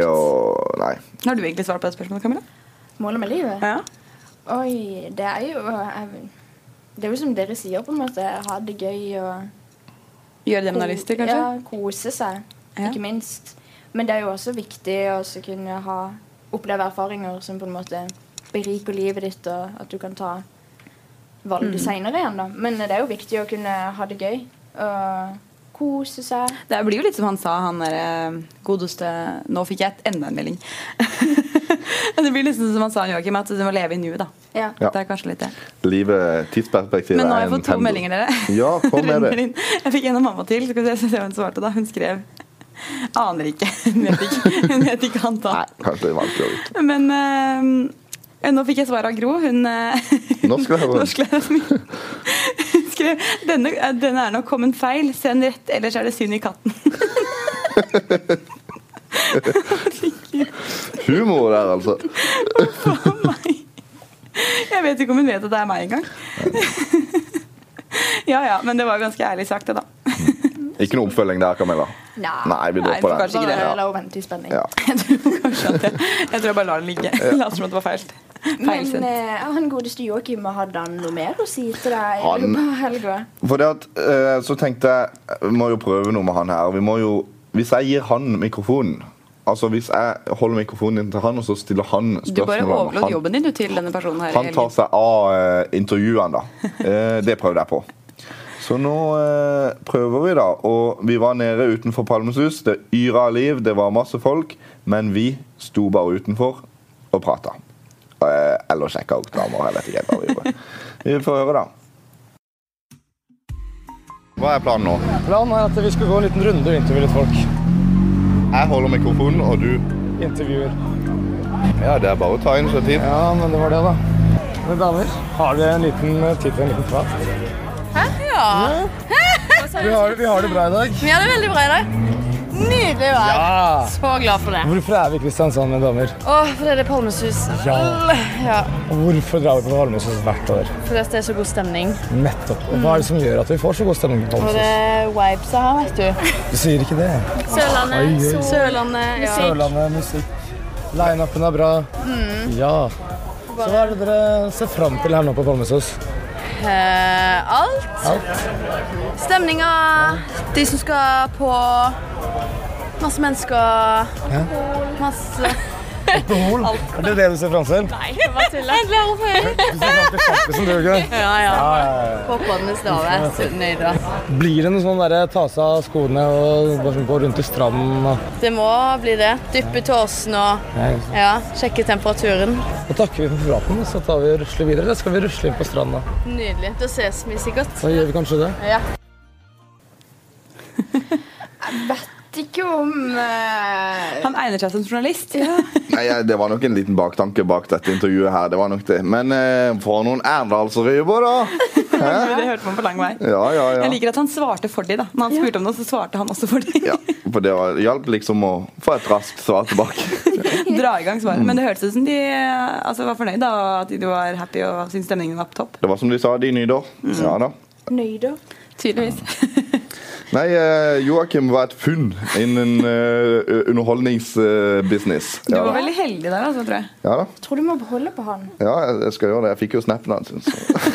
[SPEAKER 4] Og nei.
[SPEAKER 6] Har du egentlig svar på det spørsmålet, Camilla?
[SPEAKER 3] Målet med livet?
[SPEAKER 6] Ja.
[SPEAKER 3] Oi, det er jo jeg, Det er jo som dere sier, på en måte. Ha det gøy og
[SPEAKER 6] Gjøre det man har lyst til, kanskje?
[SPEAKER 3] Ja, kose seg,
[SPEAKER 6] Ja.
[SPEAKER 3] ikke minst. Men det er jo også viktig å også kunne ha oppleve erfaringer som på en måte beriker livet ditt, og at du kan ta valg
[SPEAKER 6] Mm.
[SPEAKER 3] senere igjen, da. Men det er jo viktig å kunne ha det gøy og kose seg.
[SPEAKER 6] Det blir jo litt som han sa, han der eh, godeste Nå fikk jeg et, enda en melding. *laughs* det blir liksom som han sa, Joakim, at du må leve i nuet, da.
[SPEAKER 3] Ja.
[SPEAKER 4] Ja.
[SPEAKER 6] Det er kanskje litt det.
[SPEAKER 4] Livet, tidsperspektivet
[SPEAKER 6] Men nå har
[SPEAKER 4] er en
[SPEAKER 6] jeg fått to
[SPEAKER 4] pendel.
[SPEAKER 6] meldinger, dere. *laughs*
[SPEAKER 4] Ja, kom med
[SPEAKER 6] Renner
[SPEAKER 4] det.
[SPEAKER 6] inn. Jeg fikk en av mamma til. Skal vi se se hva hun svarte da. Hun skrev Aner ikke. *laughs* Hun vet ikke, hun vet ikke
[SPEAKER 4] Nei,
[SPEAKER 6] antall.
[SPEAKER 4] kanskje det er vanskelig å vite.
[SPEAKER 6] Men eh, nå fikk jeg svar av Gro. Hun eh,
[SPEAKER 4] Norsklærer.
[SPEAKER 6] *laughs* Norsklæreren min. Hun skrev denne, eh, denne er nok kommet feil. Send rett, ellers er det synd i katten. *laughs*
[SPEAKER 4] Humor der, altså.
[SPEAKER 6] For meg. Jeg vet ikke om hun vet at det er meg engang. *laughs* Ja ja, men det var ganske ærlig sagt, det, da.
[SPEAKER 4] Ikke noe oppfølging der, Camilla.
[SPEAKER 3] Nei.
[SPEAKER 4] Nei, vi
[SPEAKER 6] Nei,
[SPEAKER 4] dropper
[SPEAKER 6] kanskje
[SPEAKER 4] den.
[SPEAKER 6] ikke det.
[SPEAKER 3] Bare la henne vente i spenning.
[SPEAKER 4] Ja.
[SPEAKER 6] *laughs* Jeg tror kanskje at jeg, jeg tror jeg bare lar det ligge. Later som at det var feil.
[SPEAKER 3] Men
[SPEAKER 6] Feilsendt.
[SPEAKER 3] eh, han godeste Joakim, hadde han noe mer å si til deg
[SPEAKER 4] Han-
[SPEAKER 3] på helga?
[SPEAKER 4] For det at, eh, så tenkte jeg Vi må jo prøve noe med han her. Vi må jo, hvis jeg gir han mikrofonen Altså Hvis jeg holder mikrofonen inn til han, og så stiller han
[SPEAKER 6] Du bare
[SPEAKER 4] spørsmål om
[SPEAKER 6] overlot
[SPEAKER 4] han,
[SPEAKER 6] jobben din du, til denne personen her.
[SPEAKER 4] han tar seg av eh, intervjuene, da. Eh, det prøvde jeg på. Så nå eh, prøver vi, da. Og vi var nede utenfor Palmesus. Det yra av liv, det var masse folk. Men vi sto bare utenfor og prata. Eh, eller sjekka ut damer. Jeg vet ikke hva vi gjorde. Vi får høre, da. Hva er planen nå?
[SPEAKER 7] Planen er at vi skulle gå en liten runde og intervjue litt folk.
[SPEAKER 4] Jeg holder mikrofonen, og du
[SPEAKER 7] Intervjuer.
[SPEAKER 4] Ja, det er bare å ta initiativ.
[SPEAKER 7] Ja, men det var det, da. Men damer, har dere en liten eh, tid til en liten prat? Hæ? Ja. Vi har, vi har det bra i dag.
[SPEAKER 2] Vi har det veldig bra i dag. Nydelig vær.
[SPEAKER 7] Ja.
[SPEAKER 2] Så glad for det.
[SPEAKER 7] Hvorfor er vi i Kristiansand, mine damer?
[SPEAKER 2] Åh, for det er det Palmesus.
[SPEAKER 7] Ja.
[SPEAKER 2] Ja,
[SPEAKER 7] Og hvorfor drar vi på Holmøysus hvert år?
[SPEAKER 2] for det er så god stemning. Mm.
[SPEAKER 7] Nettopp. Og hva er det som gjør at vi får så god stemning på
[SPEAKER 2] Og det
[SPEAKER 7] Holmøysus?
[SPEAKER 2] er vibes her, vet du.
[SPEAKER 7] Du sier ikke det. Oi,
[SPEAKER 2] Sørlandet,
[SPEAKER 7] oi, oi.
[SPEAKER 2] Sørlandet, ja.
[SPEAKER 7] Sørlandet, musikk. Line-upen er bra.
[SPEAKER 2] Mm.
[SPEAKER 7] Ja. Så hva er det dere ser fram til her nå på Palmesus?
[SPEAKER 2] Eh, alt.
[SPEAKER 7] Alt?
[SPEAKER 2] Stemninga, de som skal på Masse mennesker. Masse
[SPEAKER 9] *laughs*
[SPEAKER 7] Alkohol? Er det det du ser fram til?
[SPEAKER 2] Nei, det var tulla. Jeg ler for
[SPEAKER 7] Du ser fram til kjempisen, du, ikke sant?
[SPEAKER 2] Ja, ja.
[SPEAKER 7] Ja, ja, ja.
[SPEAKER 2] Popkornet stavet. Nøyd, da.
[SPEAKER 7] Blir det noe sånn derre ta seg av skoene og bare sånn gå rundt i stranden og
[SPEAKER 2] Det må bli det. Dyppe tåsen og
[SPEAKER 7] Nei.
[SPEAKER 2] ja, sjekke temperaturen.
[SPEAKER 7] Da takker vi for praten, så tar vi og rusler videre. Eller skal vi rusle inn på stranda?
[SPEAKER 2] Nydelig. Da ses vi sikkert.
[SPEAKER 7] Da gjør vi kanskje det.
[SPEAKER 2] Ja.
[SPEAKER 3] Vet ikke om eh,
[SPEAKER 6] Han egner seg som journalist. *laughs*
[SPEAKER 4] Nei, jeg- Det var nok en liten baktanke bak dette intervjuet her. det var nok det. Men eh, for noen Erndalsrøyber, da!
[SPEAKER 6] Det hørte man på lang vei.
[SPEAKER 4] Ja, ja, ja.
[SPEAKER 6] Jeg liker at han svarte for de da. Når han spurte om noe, så svarte han også for de.
[SPEAKER 4] ja for det var- hjalp liksom å få et raskt svar tilbake.
[SPEAKER 6] *laughs* Dra i gang svaret.
[SPEAKER 4] Mm.
[SPEAKER 6] Men det hørtes ut som de eh, altså, var fornøyd, da, og at de var happy og syntes stemningen var på topp.
[SPEAKER 4] Det var som de sa, de nyder.
[SPEAKER 6] Mm.
[SPEAKER 4] Ja da.
[SPEAKER 3] nøyder?
[SPEAKER 6] Tydeligvis.
[SPEAKER 4] Nei, eh, Joakim var et funn innen eh, underholdningsbusiness.
[SPEAKER 6] *laughs* Du
[SPEAKER 4] Ja
[SPEAKER 6] var
[SPEAKER 4] da.
[SPEAKER 6] veldig heldig der, altså, *laughs* tror jeg.
[SPEAKER 4] Ja, da.
[SPEAKER 3] Tror du må beholde på han.
[SPEAKER 4] ja, jeg- jeg skal gjøre det. Jeg fikk jo snappen hans. så-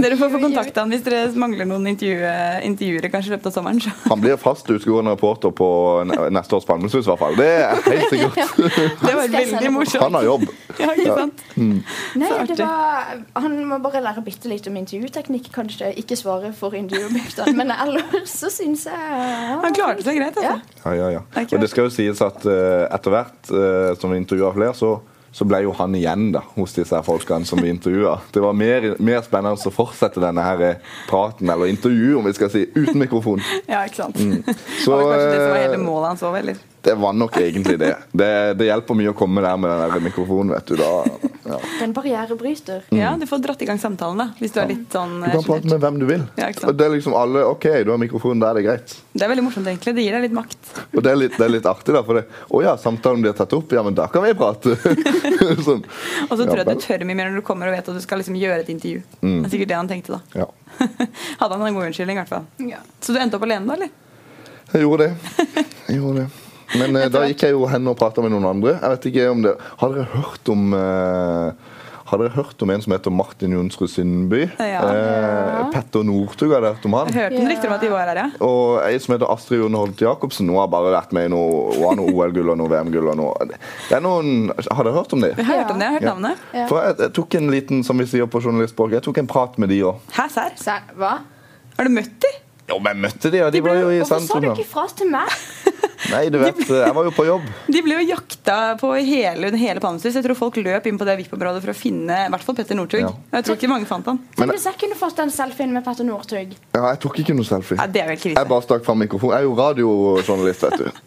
[SPEAKER 6] Dere får få kontakte han hvis dere mangler noen intervju, intervjuere kanskje i løpet av sommeren. Så.
[SPEAKER 4] Han blir fast utgående reporter på ne- neste års Palmesus, i hvert fall. Det er helt sikkert.
[SPEAKER 6] Det var
[SPEAKER 3] skal jeg sende på.
[SPEAKER 6] veldig
[SPEAKER 4] Han
[SPEAKER 6] morsomt.
[SPEAKER 4] har jobb.
[SPEAKER 6] *laughs* Ja, ikke sant?
[SPEAKER 3] Nei,
[SPEAKER 6] artig.
[SPEAKER 3] det var, han må bare lære bitte litt om intervjuteknikk, kanskje. Ikke svare for intervjuobjektene. Men ellers så syns jeg ja.
[SPEAKER 6] Han klarte seg greit, altså.
[SPEAKER 4] Ja, ja, ja.
[SPEAKER 6] er ikke
[SPEAKER 4] Og det skal jo sies at eh, etter hvert eh, som vi intervjua flere, så, så ble jo han igjen da, hos disse her folkene som vi intervjua. Det var mer, mer spennende å fortsette denne her eh, praten, eller intervjuet, om vi skal si, uten mikrofon.
[SPEAKER 6] Ja, ikke sant.
[SPEAKER 4] Mm. Så
[SPEAKER 6] *laughs* det var kanskje det som var
[SPEAKER 4] eh,
[SPEAKER 6] hele målet hans òg, eller?
[SPEAKER 4] det var nok egentlig det. det. Det hjelper mye å komme der med den der mikrofonen, vet du. Da, ja.
[SPEAKER 3] Den barrierebryter.
[SPEAKER 6] Ja, du får dratt i gang samtalen, da. Hvis du er litt sånn
[SPEAKER 4] mm. Du
[SPEAKER 6] eh,
[SPEAKER 4] kan prate
[SPEAKER 6] sjenert.
[SPEAKER 4] med hvem du vil.
[SPEAKER 6] Ja, ikke sant.
[SPEAKER 4] Og det er liksom alle OK, du har mikrofonen der, det er greit.
[SPEAKER 6] Det er veldig morsomt, egentlig. Det gir deg litt makt.
[SPEAKER 4] Og det er litt, det er litt artig, da. For det Å ja, samtalen blir tatt opp. Ja, men da kan vi prate. *laughs* sånn.
[SPEAKER 6] Og så
[SPEAKER 4] Ja, Mm.
[SPEAKER 6] tror jeg at
[SPEAKER 4] vel.
[SPEAKER 6] du tør mye mer når du kommer og vet at du skal liksom gjøre et intervju. Det er sikkert det han tenkte, da. *laughs*
[SPEAKER 4] Ja.
[SPEAKER 6] Hadde han en god unnskyldning, i hvert fall. Så du endte opp alene, da, eller?
[SPEAKER 4] Jeg gjorde det. Jeg gjorde det. Men eh, da gikk jeg jo hen og prata med noen andre. Jeg vet ikke om det Har dere hørt om eh, Har dere hørt om en som heter Martin Jonsrud Sundby?
[SPEAKER 6] Ja.
[SPEAKER 4] Eh, Petter Northug, har dere hørt om han?
[SPEAKER 6] Hørte noen rykter om at de var her, ja.
[SPEAKER 4] Og ei som heter Astrid Jorn Holte Jacobsen. Hun har bare vært med i noe, hun har noe OL-gull og noe VM-gull. og noe. Det er noen, Har dere hørt om de?
[SPEAKER 6] Jeg har hørt om det, jeg har hørt
[SPEAKER 4] Ja.
[SPEAKER 6] navnet.
[SPEAKER 4] For jeg, jeg tok en liten som vi sier på journalistspråket, jeg tok en prat med de òg.
[SPEAKER 6] Hæ, serr?
[SPEAKER 3] Så, hva?
[SPEAKER 6] Har du møtt de?
[SPEAKER 4] Jo, men jeg møtte de, og de
[SPEAKER 3] ble-
[SPEAKER 4] var jo i
[SPEAKER 3] Hvorfor sa
[SPEAKER 4] sentrum.
[SPEAKER 3] du
[SPEAKER 4] da.
[SPEAKER 3] ikke fra til meg?
[SPEAKER 4] Nei, du vet, jeg var jo på jobb.
[SPEAKER 6] De ble jo jakta på i hele, under hele Palmesus. Jeg tror folk løp inn på det VIP-området for å finne i hvert fall Petter Northug.
[SPEAKER 4] Ja.
[SPEAKER 6] Jeg tror ikke mange fant han.
[SPEAKER 4] *laughs* Men-
[SPEAKER 3] Tenk hvis jeg kunne fått den selfien med Petter Northug.
[SPEAKER 4] Ja, jeg tok ikke noe
[SPEAKER 6] Ja,
[SPEAKER 4] selfie.
[SPEAKER 6] det er vel krise.
[SPEAKER 4] Jeg bare stakk fram mikrofonen. Jeg er jo radiojournalist, vet du.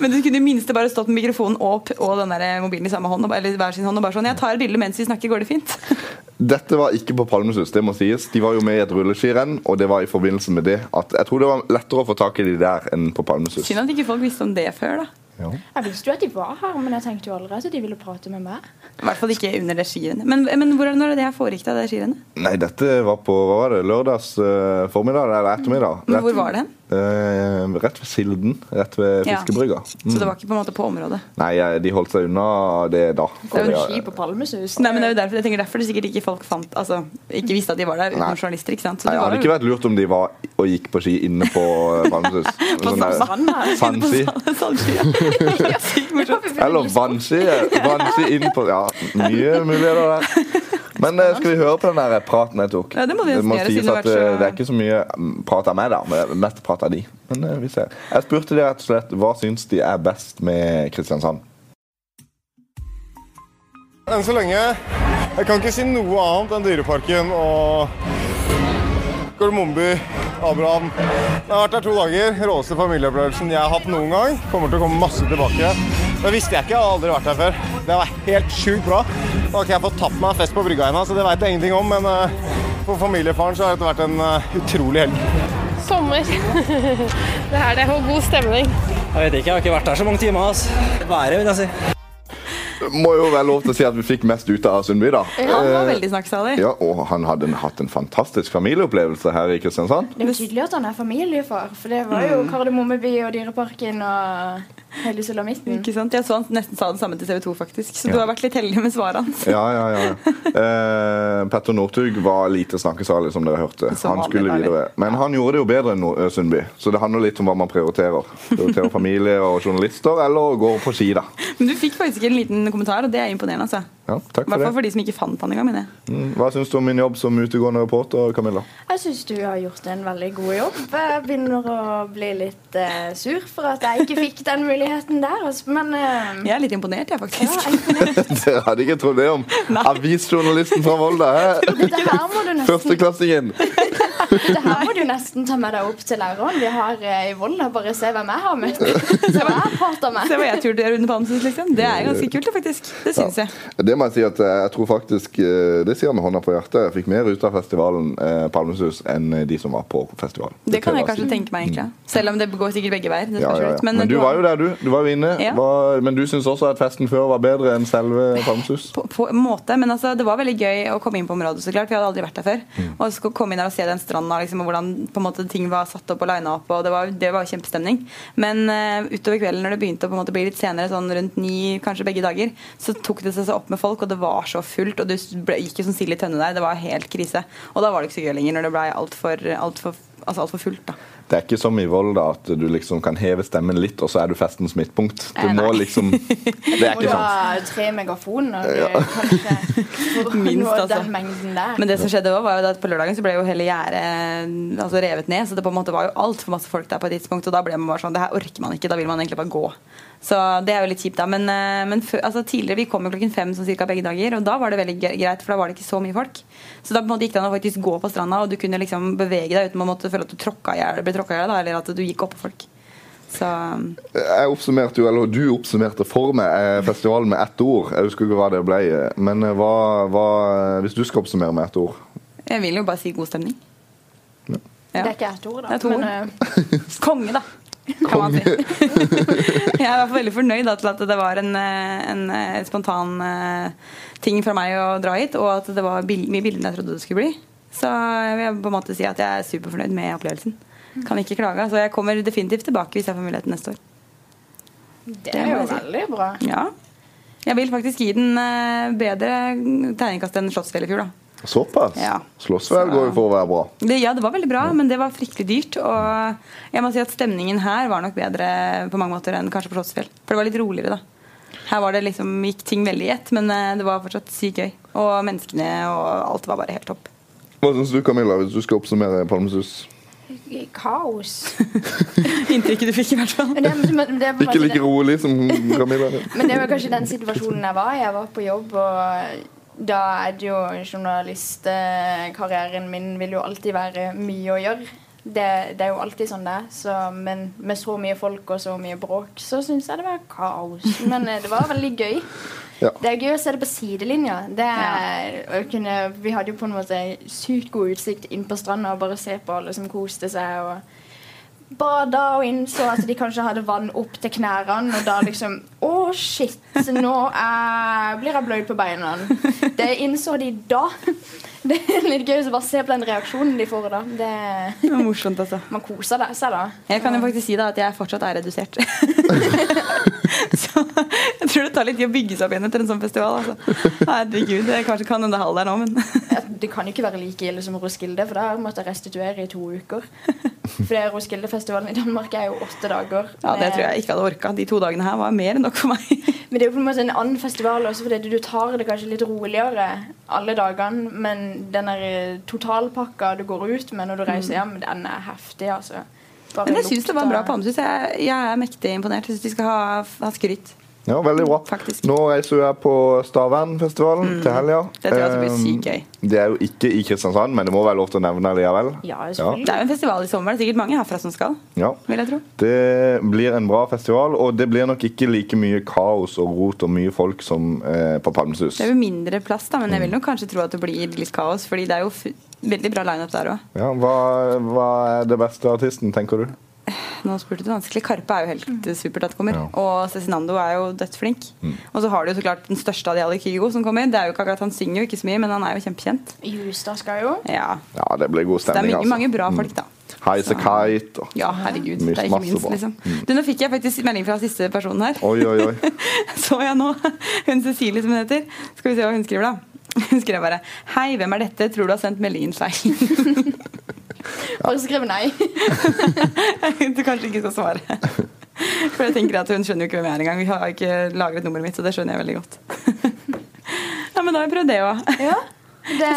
[SPEAKER 6] Men du kunne i minste bare stått med mikrofonen opp og den der mobilen i samme hånd, og bare- eller hver sin hånd, og bare sånn Jeg tar et bilde mens vi snakker, går det fint? *laughs*
[SPEAKER 4] Dette var ikke på Palmesus, det må sies. De var jo med i et rulleskirenn, og det var i forbindelse med det at jeg tror det var lettere å få tak i de der enn på Palmesus.
[SPEAKER 6] Synd at ikke folk visste om det før, da.
[SPEAKER 4] Ja.
[SPEAKER 3] Jeg visste jo at de var her, men jeg tenkte jo allerede at de ville prate med meg.
[SPEAKER 6] I hvert fall ikke under det skirennet. Men, men hvor er det når det her foregikk, da? Det skirennet?
[SPEAKER 4] Nei, dette var på hva var det, lørdags eh, formiddag eller ettermiddag.
[SPEAKER 6] Men hvor var det hen?
[SPEAKER 4] Eh, rett ved Silden. Rett ved
[SPEAKER 6] Ja.
[SPEAKER 4] fiskebrygga.
[SPEAKER 6] Så det var ikke på en måte på området.
[SPEAKER 4] Nei, eh, de holdt seg unna det da.
[SPEAKER 3] Det er jo
[SPEAKER 4] Ja,
[SPEAKER 3] ski på Palmesus.
[SPEAKER 6] Nei, men det er jo derfor jeg tenker derfor det sikkert ikke folk fant Altså, ikke visste at de var der
[SPEAKER 4] Nei.
[SPEAKER 6] utenom journalister, ikke sant? Så
[SPEAKER 4] Nei,
[SPEAKER 6] du
[SPEAKER 4] det
[SPEAKER 6] var
[SPEAKER 4] hadde
[SPEAKER 6] jo-
[SPEAKER 4] ikke vært lurt om de var og gikk på ski inne på eh,
[SPEAKER 6] *laughs*
[SPEAKER 4] Palmesus. Sånn der- Fancy.
[SPEAKER 6] På sandskyen. Ja, sykt morsomt.
[SPEAKER 4] Eller Vansi. Vansi inn på Ja, mye muligheter der. Men eh, skal vi høre på den der praten jeg tok?
[SPEAKER 6] Ja, det må vi nesten gjøre,
[SPEAKER 4] sies
[SPEAKER 6] siden det
[SPEAKER 4] at
[SPEAKER 6] har vært
[SPEAKER 4] eh,
[SPEAKER 6] så-
[SPEAKER 4] Det er ikke så mye mm, prat av meg, da. men Mest prat av de. Men eh, vi ser. Jeg spurte de rett og slett hva syns de er best med Kristiansand.
[SPEAKER 10] Enn så lenge Jeg kan ikke si noe annet enn Dyreparken og Gormomby, Abraham. Jeg har vært der to dager. Råeste familieopplevelsen jeg har hatt noen gang. Kommer til å komme masse tilbake. Det visste jeg ikke. Jeg har aldri vært der før. Det var helt sjukt bra. Nå har ikke jeg fått tatt meg en fest på brygga ennå, så det veit jeg ingenting om. Men eh, for familiefaren så har dette vært en eh, utrolig helg.
[SPEAKER 9] Sommer. *laughs* det er det, og god stemning.
[SPEAKER 11] Jeg vet ikke, jeg har ikke vært der så mange timer. ass. Været, vil jeg si.
[SPEAKER 4] Må jo være lov til å si at vi fikk mest ut av Sundby, da. Eh,
[SPEAKER 6] Han var veldig snakksalig.
[SPEAKER 4] Ja, og han hadde en- hatt en fantastisk familieopplevelse her i Kristiansand.
[SPEAKER 3] Det er jo tydelig at han er familiefar, for det var
[SPEAKER 4] Mm.
[SPEAKER 3] jo Kardemommeby og Dyreparken og hele sulamitten.
[SPEAKER 6] Ikke sant? Jeg så han nesten sa det samme til TV 2, faktisk. Så du har vært litt heldig med svaret hans.
[SPEAKER 4] Ja, *laughs* ja, ja. Eh, Petter Northug var lite snakkesalig, som dere hørte.
[SPEAKER 6] Som
[SPEAKER 4] han
[SPEAKER 6] vanlig,
[SPEAKER 4] skulle
[SPEAKER 6] deilig.
[SPEAKER 4] videre. Men han gjorde det jo bedre enn Nor- eh, Sundby, så det handler litt om hva man prioriterer.
[SPEAKER 6] *laughs*
[SPEAKER 4] Prioriterer familie og journalister, eller å gå på ski, da.
[SPEAKER 6] Men du fikk faktisk en liten kommentar, og det er imponerende. altså.
[SPEAKER 4] Ja, takk for
[SPEAKER 6] I hvert fall
[SPEAKER 4] det.
[SPEAKER 6] for de som ikke fant han engang. mener jeg.
[SPEAKER 4] Mm, Hva syns du om min jobb som utegående reporter, Camilla? *laughs*
[SPEAKER 3] Jeg syns du har gjort en veldig god jobb. Jeg begynner å bli litt eh, sur for at jeg ikke fikk den muligheten der, altså. men eh,
[SPEAKER 6] Jeg er litt imponert,
[SPEAKER 3] ja,
[SPEAKER 6] jeg, faktisk.
[SPEAKER 3] jeg,
[SPEAKER 6] *laughs*
[SPEAKER 4] Dere hadde ikke trodd det om
[SPEAKER 6] Nei.
[SPEAKER 4] avisjournalisten fra
[SPEAKER 6] *laughs*
[SPEAKER 4] Volda, hæ?
[SPEAKER 3] dette, her må du nesten,
[SPEAKER 4] Førsteklassingen!
[SPEAKER 3] dette her må du nesten ta med deg opp til læreren vi har eh, i Volda. Bare se hvem jeg har møtt. Se hva jeg prater med.
[SPEAKER 6] Se hva jeg turte å gjøre under Palmesus, liksom. Det er ganske kult, det, faktisk. Det syns jeg.
[SPEAKER 4] Det må jeg si at eh, jeg tror faktisk eh, Det sier jeg med hånda på hjertet. Jeg fikk mer ut av festivalen eh, Palmesus enn eh, de som var på festivalen.
[SPEAKER 6] Det kan
[SPEAKER 4] tør
[SPEAKER 6] jeg
[SPEAKER 4] si.
[SPEAKER 6] kanskje tenke meg, egentlig. Selv om det går sikkert begge veier. Det
[SPEAKER 4] Ja,
[SPEAKER 6] spørs
[SPEAKER 4] ja, ja.
[SPEAKER 6] litt. eh,
[SPEAKER 4] Men, du var jo der, du. Du var jo inne.
[SPEAKER 6] Ja.
[SPEAKER 4] Hva- men du syns også at festen før var bedre enn selve Palmesus?
[SPEAKER 6] på, på en måte, men altså, det var veldig gøy å komme inn på området, så klart. Vi hadde aldri vært der før. Og så skulle komme inn her og se den stranda, liksom, og hvordan på en måte, ting var satt opp og lina opp. Og det var, det var jo kjempestemning. Men eh, utover kvelden, når det begynte å på en måte, bli litt senere, sånn rundt ni, kanskje begge dager, så tok det seg så opp med folk, og det var så fullt. Og du s- ble, gikk jo som sild i tønne der. Det var helt krise. Og da var det ikke så gøy lenger, når det ble altfor alt for, altså, alt for fullt, da.
[SPEAKER 4] Det er ikke som i Volda at du liksom kan heve stemmen litt, og så er du festens midtpunkt. Du
[SPEAKER 6] Eh,
[SPEAKER 4] må
[SPEAKER 6] nei. *laughs*
[SPEAKER 4] liksom Det er
[SPEAKER 3] Må du
[SPEAKER 4] ikke sant.
[SPEAKER 3] ha tre megafoner eh, kanskje, for å
[SPEAKER 6] Minst,
[SPEAKER 3] nå
[SPEAKER 6] altså.
[SPEAKER 3] den mengden der.
[SPEAKER 6] Men det som skjedde også var jo det at på lørdagen så ble jo hele gjerdet altså, revet ned. Så det på en måte var jo altfor masse folk der på et tidspunkt. Og da ble man bare sånn Det her orker man ikke. Da vil man egentlig bare gå. Så det er jo litt kjipt, da. Men, eh, men før, altså, tidligere vi kom jo klokken fem sånn cirka begge dager, og da var det veldig gre- greit, for da var det ikke så mye folk. Så da på en måte gikk det an å faktisk gå på stranda, og du kunne liksom bevege deg uten å måtte føle at du tråkka i hjel, ble tråkka i hjel, da, eller at du gikk oppå folk. Så eh,
[SPEAKER 4] Jeg oppsummerte jo, eller Du oppsummerte for meg eh, festivalen med ett ord. Jeg husker ikke hva det ble. eh, Men eh, hva, hva Hvis du skal oppsummere med ett ord
[SPEAKER 6] jeg vil jo bare si god stemning. Ja.
[SPEAKER 3] Det er ikke ett ord, da.
[SPEAKER 6] Det er to ord.
[SPEAKER 3] Men, eh,
[SPEAKER 6] Konge, da. Kan man si. *laughs* jeg er i hvert fall veldig fornøyd da, til at det var en, eh, en eh, spontan eh, ting fra meg å dra hit, og at det var bil mye billigere enn jeg trodde det skulle bli. Så jeg vil på en måte si at jeg er superfornøyd med opplevelsen. Kan ikke klage. Så jeg kommer definitivt tilbake hvis jeg får muligheten neste år.
[SPEAKER 3] det er jo veldig bra.
[SPEAKER 6] Ja. Jeg vil faktisk gi den eh, bedre terningkast enn Slottsfjell i fjor, da.
[SPEAKER 4] Såpass?
[SPEAKER 6] Ja.
[SPEAKER 4] Slåssvel går jo for å være bra.
[SPEAKER 6] Det, ja, det var veldig bra, men det var fryktelig dyrt. Og jeg må si at stemningen her var nok bedre på mange måter enn kanskje på Slottsfjell. For det var litt roligere, da. Her var det liksom, gikk ting veldig i ett, men eh, det var fortsatt sykt gøy. Og menneskene og alt var bare helt *laughs* topp.
[SPEAKER 4] Hva syns du, Camilla, hvis du skal oppsummere Palmesus?
[SPEAKER 3] Kaos.
[SPEAKER 6] Inntrykket du fikk, i hvert fall.
[SPEAKER 3] Men det, men det, er på en
[SPEAKER 4] Ikke
[SPEAKER 3] måte
[SPEAKER 4] like
[SPEAKER 3] det-
[SPEAKER 4] rolig som Camilla.
[SPEAKER 6] *laughs*
[SPEAKER 3] men det var kanskje den situasjonen jeg var i. Jeg var på jobb, og da er det jo journalistkarrieren min vil jo alltid være mye å gjøre. Det, det er jo alltid sånn det er. Så, men med så mye folk og så mye bråk, så syns jeg det var kaos. Men eh, det var veldig gøy.
[SPEAKER 4] Ja.
[SPEAKER 3] Det er gøy å se det på sidelinja. Det er, å kunne, vi hadde jo på en måte sykt god utsikt inn på stranda og bare se på alle som koste seg. Og bada og innså at de kanskje hadde vann opp til knærne. Og da liksom Å, shit! Nå eh, blir jeg bløyd på beina. Det innså de da. Det er litt gøy å bare se på den reaksjonen de får da. Det,
[SPEAKER 6] Det var morsomt, altså.
[SPEAKER 3] man koser det- seg da.
[SPEAKER 6] Jeg kan jo faktisk si da at jeg fortsatt er *laughs* redusert. Så jeg tror det tar litt tid å bygge seg opp igjen etter en sånn festival. Altså. Herregud, jeg kanskje kan denne hallen der nå, men *laughs*
[SPEAKER 3] Det kan ikke være like ille som Roskilde, for da måtte jeg restituere i to uker. For det Roskildefestivalen i Danmark er jo åtte dager.
[SPEAKER 6] ja, det tror jeg ikke hadde orka. De to dagene her var mer enn nok for meg.
[SPEAKER 3] Men det er jo på en måte en annen festival også, fordi du tar det kanskje litt roligere alle dagene, men den der eh, totalpakka du går ut med når du reiser hjem, den er heftig, altså. Bare
[SPEAKER 6] Mm. Men jeg syns det var en bra
[SPEAKER 3] lukta-
[SPEAKER 6] palmesus. Jeg, jeg er mektig imponert. Jeg syns de skal ha, ha skryt.
[SPEAKER 4] Ja, veldig
[SPEAKER 6] Mm,
[SPEAKER 4] bra. Nå reiser jo jeg på Stavernfestivalen til helga.
[SPEAKER 6] Det tror jeg også blir
[SPEAKER 4] Eh,
[SPEAKER 6] altså sykt gøy.
[SPEAKER 4] Det er jo ikke i Kristiansand, men det må være lov til å nevne likevel.
[SPEAKER 6] Det er jo en festival i sommer. Det er sikkert mange herfra som skal,
[SPEAKER 4] Ja.
[SPEAKER 6] vil jeg tro.
[SPEAKER 4] Det blir en bra festival, og det blir nok ikke like mye kaos og rot og mye folk som eh, på Palmesus.
[SPEAKER 6] Det er jo mindre plass, da, men jeg vil nok kanskje tro at det blir litt kaos. Fordi det er jo f veldig bra lineup der òg.
[SPEAKER 4] Ja, hva, hva er det beste artisten, tenker du?
[SPEAKER 6] Nå spurte du vanskelig. Karpe er jo helt mm. supert at det kommer. Og Cezinando er jo dødsflink.
[SPEAKER 4] Mm.
[SPEAKER 6] Og så har du jo så klart den største av de alle, Kygo, som kommer. Det er jo ikke akkurat Han synger jo ikke så mye, men han er jo kjempekjent.
[SPEAKER 3] Justad skal jo.
[SPEAKER 6] Ja.
[SPEAKER 4] Ja, det blir god
[SPEAKER 6] Så det er
[SPEAKER 4] stemning,
[SPEAKER 6] mye, mange bra
[SPEAKER 4] Mm.
[SPEAKER 6] folk, da.
[SPEAKER 4] Heise Kite og
[SPEAKER 6] Ja, herregud.
[SPEAKER 4] Mye-
[SPEAKER 6] Det er ikke
[SPEAKER 4] masse
[SPEAKER 6] minst,
[SPEAKER 4] bra. Mm.
[SPEAKER 6] liksom. Du, nå fikk jeg faktisk melding fra siste personen her.
[SPEAKER 4] Oi, oi, oi.
[SPEAKER 6] *laughs* Så jeg nå. Hun Cecilie, som hun heter. Skal vi se hva hun skriver, da. Hun skrev bare Hei, hvem er dette? Tror du har sendt meldingen feil. *laughs*
[SPEAKER 3] Bare skriv nei.
[SPEAKER 6] du kanskje ikke skal svare. *laughs* For jeg tenker at hun skjønner jo ikke hvem jeg er engang. Vi har ikke lagret nummeret mitt, så det skjønner jeg veldig godt. *laughs* Ja, men da har jeg prøvd det òg.
[SPEAKER 3] Det-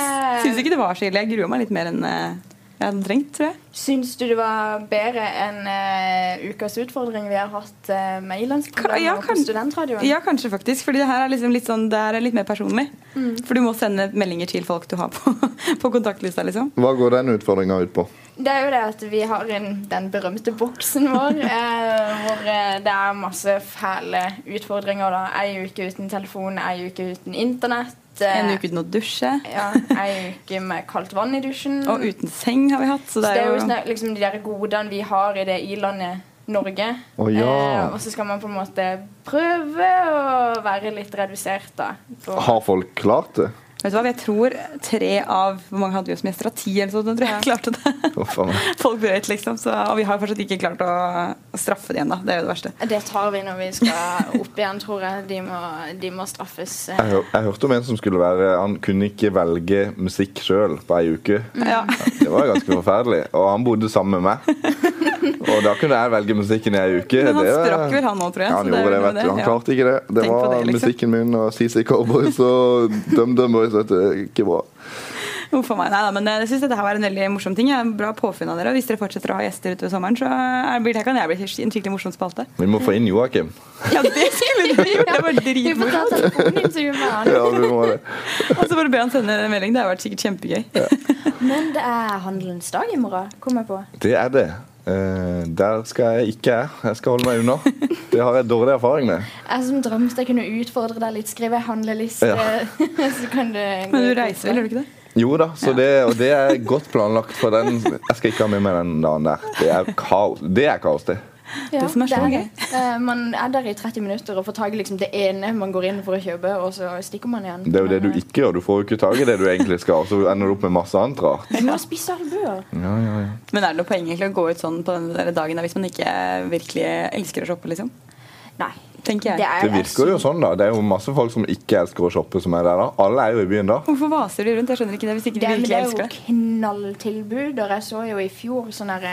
[SPEAKER 6] Syns ikke det var så ille. Jeg grua meg litt mer enn eh, jeg hadde trengt, tror jeg.
[SPEAKER 3] Syns du det var bedre enn eh, ukas utfordring vi har hatt eh, med Ilandsprogrammet
[SPEAKER 6] Ja,
[SPEAKER 3] og på
[SPEAKER 6] kan-
[SPEAKER 3] studentradioen?
[SPEAKER 6] Ja, kanskje faktisk. Fordi det her er liksom litt sånn Det her er litt mer personlig. Mm. For du må sende meldinger til folk du har på, *laughs* på kontaktlista, liksom.
[SPEAKER 4] Hva går den utfordringa ut på?
[SPEAKER 3] Det er jo det at vi har en, den berømte boksen
[SPEAKER 6] *laughs*
[SPEAKER 3] vår, eh, hvor eh, det er masse fæle utfordringer. da. Ei uke uten telefon, ei uke uten internett. eh,
[SPEAKER 6] En uke uten å dusje.
[SPEAKER 3] Ja, ei uke med kaldt vann i dusjen.
[SPEAKER 6] Og uten seng har vi hatt. Mm. Så det er jo
[SPEAKER 3] sånn, liksom, de der godene vi har i det i-landet Norge.
[SPEAKER 6] Å, ja.
[SPEAKER 3] eh, og så skal man på en måte prøve å være litt redusert, da. på-
[SPEAKER 4] Har folk klart det?
[SPEAKER 6] Vet du hva, jeg tror tre av Hvor mange hadde vi som gjester? Av Ti eller sånt, tror jeg klarte det. *laughs*
[SPEAKER 4] Huff a meg.
[SPEAKER 6] Folk brøt, liksom. Så, og vi har fortsatt ikke klart å straffe det igjen, da. Det er jo det verste.
[SPEAKER 3] Det tar vi når vi skal opp igjen, tror jeg. De må, de må straffes. eh.
[SPEAKER 4] Jeg, hør, jeg hørte om en som skulle være Han kunne ikke velge musikk sjøl på ei uke.
[SPEAKER 6] Ja.
[SPEAKER 4] Det var ganske forferdelig. Og han bodde sammen med meg. Og da kunne jeg velge musikken i ei uke.
[SPEAKER 6] *laughs* Men han
[SPEAKER 4] Det var-
[SPEAKER 6] sprakk vel han nå, tror jeg,
[SPEAKER 4] Ja,
[SPEAKER 6] så
[SPEAKER 4] han
[SPEAKER 6] det er
[SPEAKER 4] gjorde det,
[SPEAKER 6] vel
[SPEAKER 4] vet
[SPEAKER 6] det,
[SPEAKER 4] du. Han
[SPEAKER 6] ja.
[SPEAKER 4] klarte ikke det. Det
[SPEAKER 6] Tenk på
[SPEAKER 4] var
[SPEAKER 6] det, liksom.
[SPEAKER 4] musikken min og CC Cowboys og DumDum Boys. Vet du. Ikke bra.
[SPEAKER 6] Uff a meg. Nei da, men eh, jeg syns dette her var en veldig morsom ting. Ja. Bra påfunn av dere. Og hvis dere fortsetter å ha gjester utover sommeren, så er- blir det her kan jeg bli en skikkelig morsom spalte.
[SPEAKER 4] Vi må få inn Joakim.
[SPEAKER 6] Ja, det skulle *laughs* dere gjort! Det var dritmorsomt.
[SPEAKER 4] Ja, vi må det.
[SPEAKER 6] Og så bare be han sende en melding. Det har vært sikkert kjempegøy.
[SPEAKER 3] Men det er handelens dag i morgen, kom jeg på.
[SPEAKER 4] Det er det. Eh, der skal jeg ikke jeg. Jeg skal holde meg unna. Det har jeg dårlig erfaring med.
[SPEAKER 3] Jeg som drømte jeg kunne utfordre deg litt, skrive en handleliste.
[SPEAKER 4] Ja.
[SPEAKER 3] *laughs* så kan du
[SPEAKER 6] Men du reiser vel, gjør du ikke det?
[SPEAKER 4] Jo da, så det, og det er godt planlagt. For den, jeg skal ikke ha med meg den dagen der. Det er kaos, det. Er kaos, det.
[SPEAKER 3] Ja,
[SPEAKER 6] Det som er så
[SPEAKER 3] det. Eh, Man er der i 30 minutter og får tak i liksom det ene man går inn for å kjøpe, og så stikker man igjen.
[SPEAKER 4] Det er jo det du ikke gjør. Du får jo ikke tak i det du egentlig skal. Og så ender du opp med masse annet rart.
[SPEAKER 3] Du må spise albuer.
[SPEAKER 4] Ja, ja, ja.
[SPEAKER 6] Men er det noe poeng egentlig å gå ut sånn på den der dagen da, hvis man ikke virkelig elsker å shoppe, liksom?
[SPEAKER 3] Nei.
[SPEAKER 6] tenker jeg.
[SPEAKER 4] Det virker jo sånn, da. Det er jo masse folk som ikke elsker å shoppe, som er der da. Alle er jo i byen da.
[SPEAKER 6] Hvorfor vaser de rundt? Jeg skjønner ikke det hvis ikke de
[SPEAKER 3] Det, men det
[SPEAKER 6] virkelig
[SPEAKER 3] er jo
[SPEAKER 6] elsker det.
[SPEAKER 3] knalltilbud. Og jeg så jo i fjor sånne her,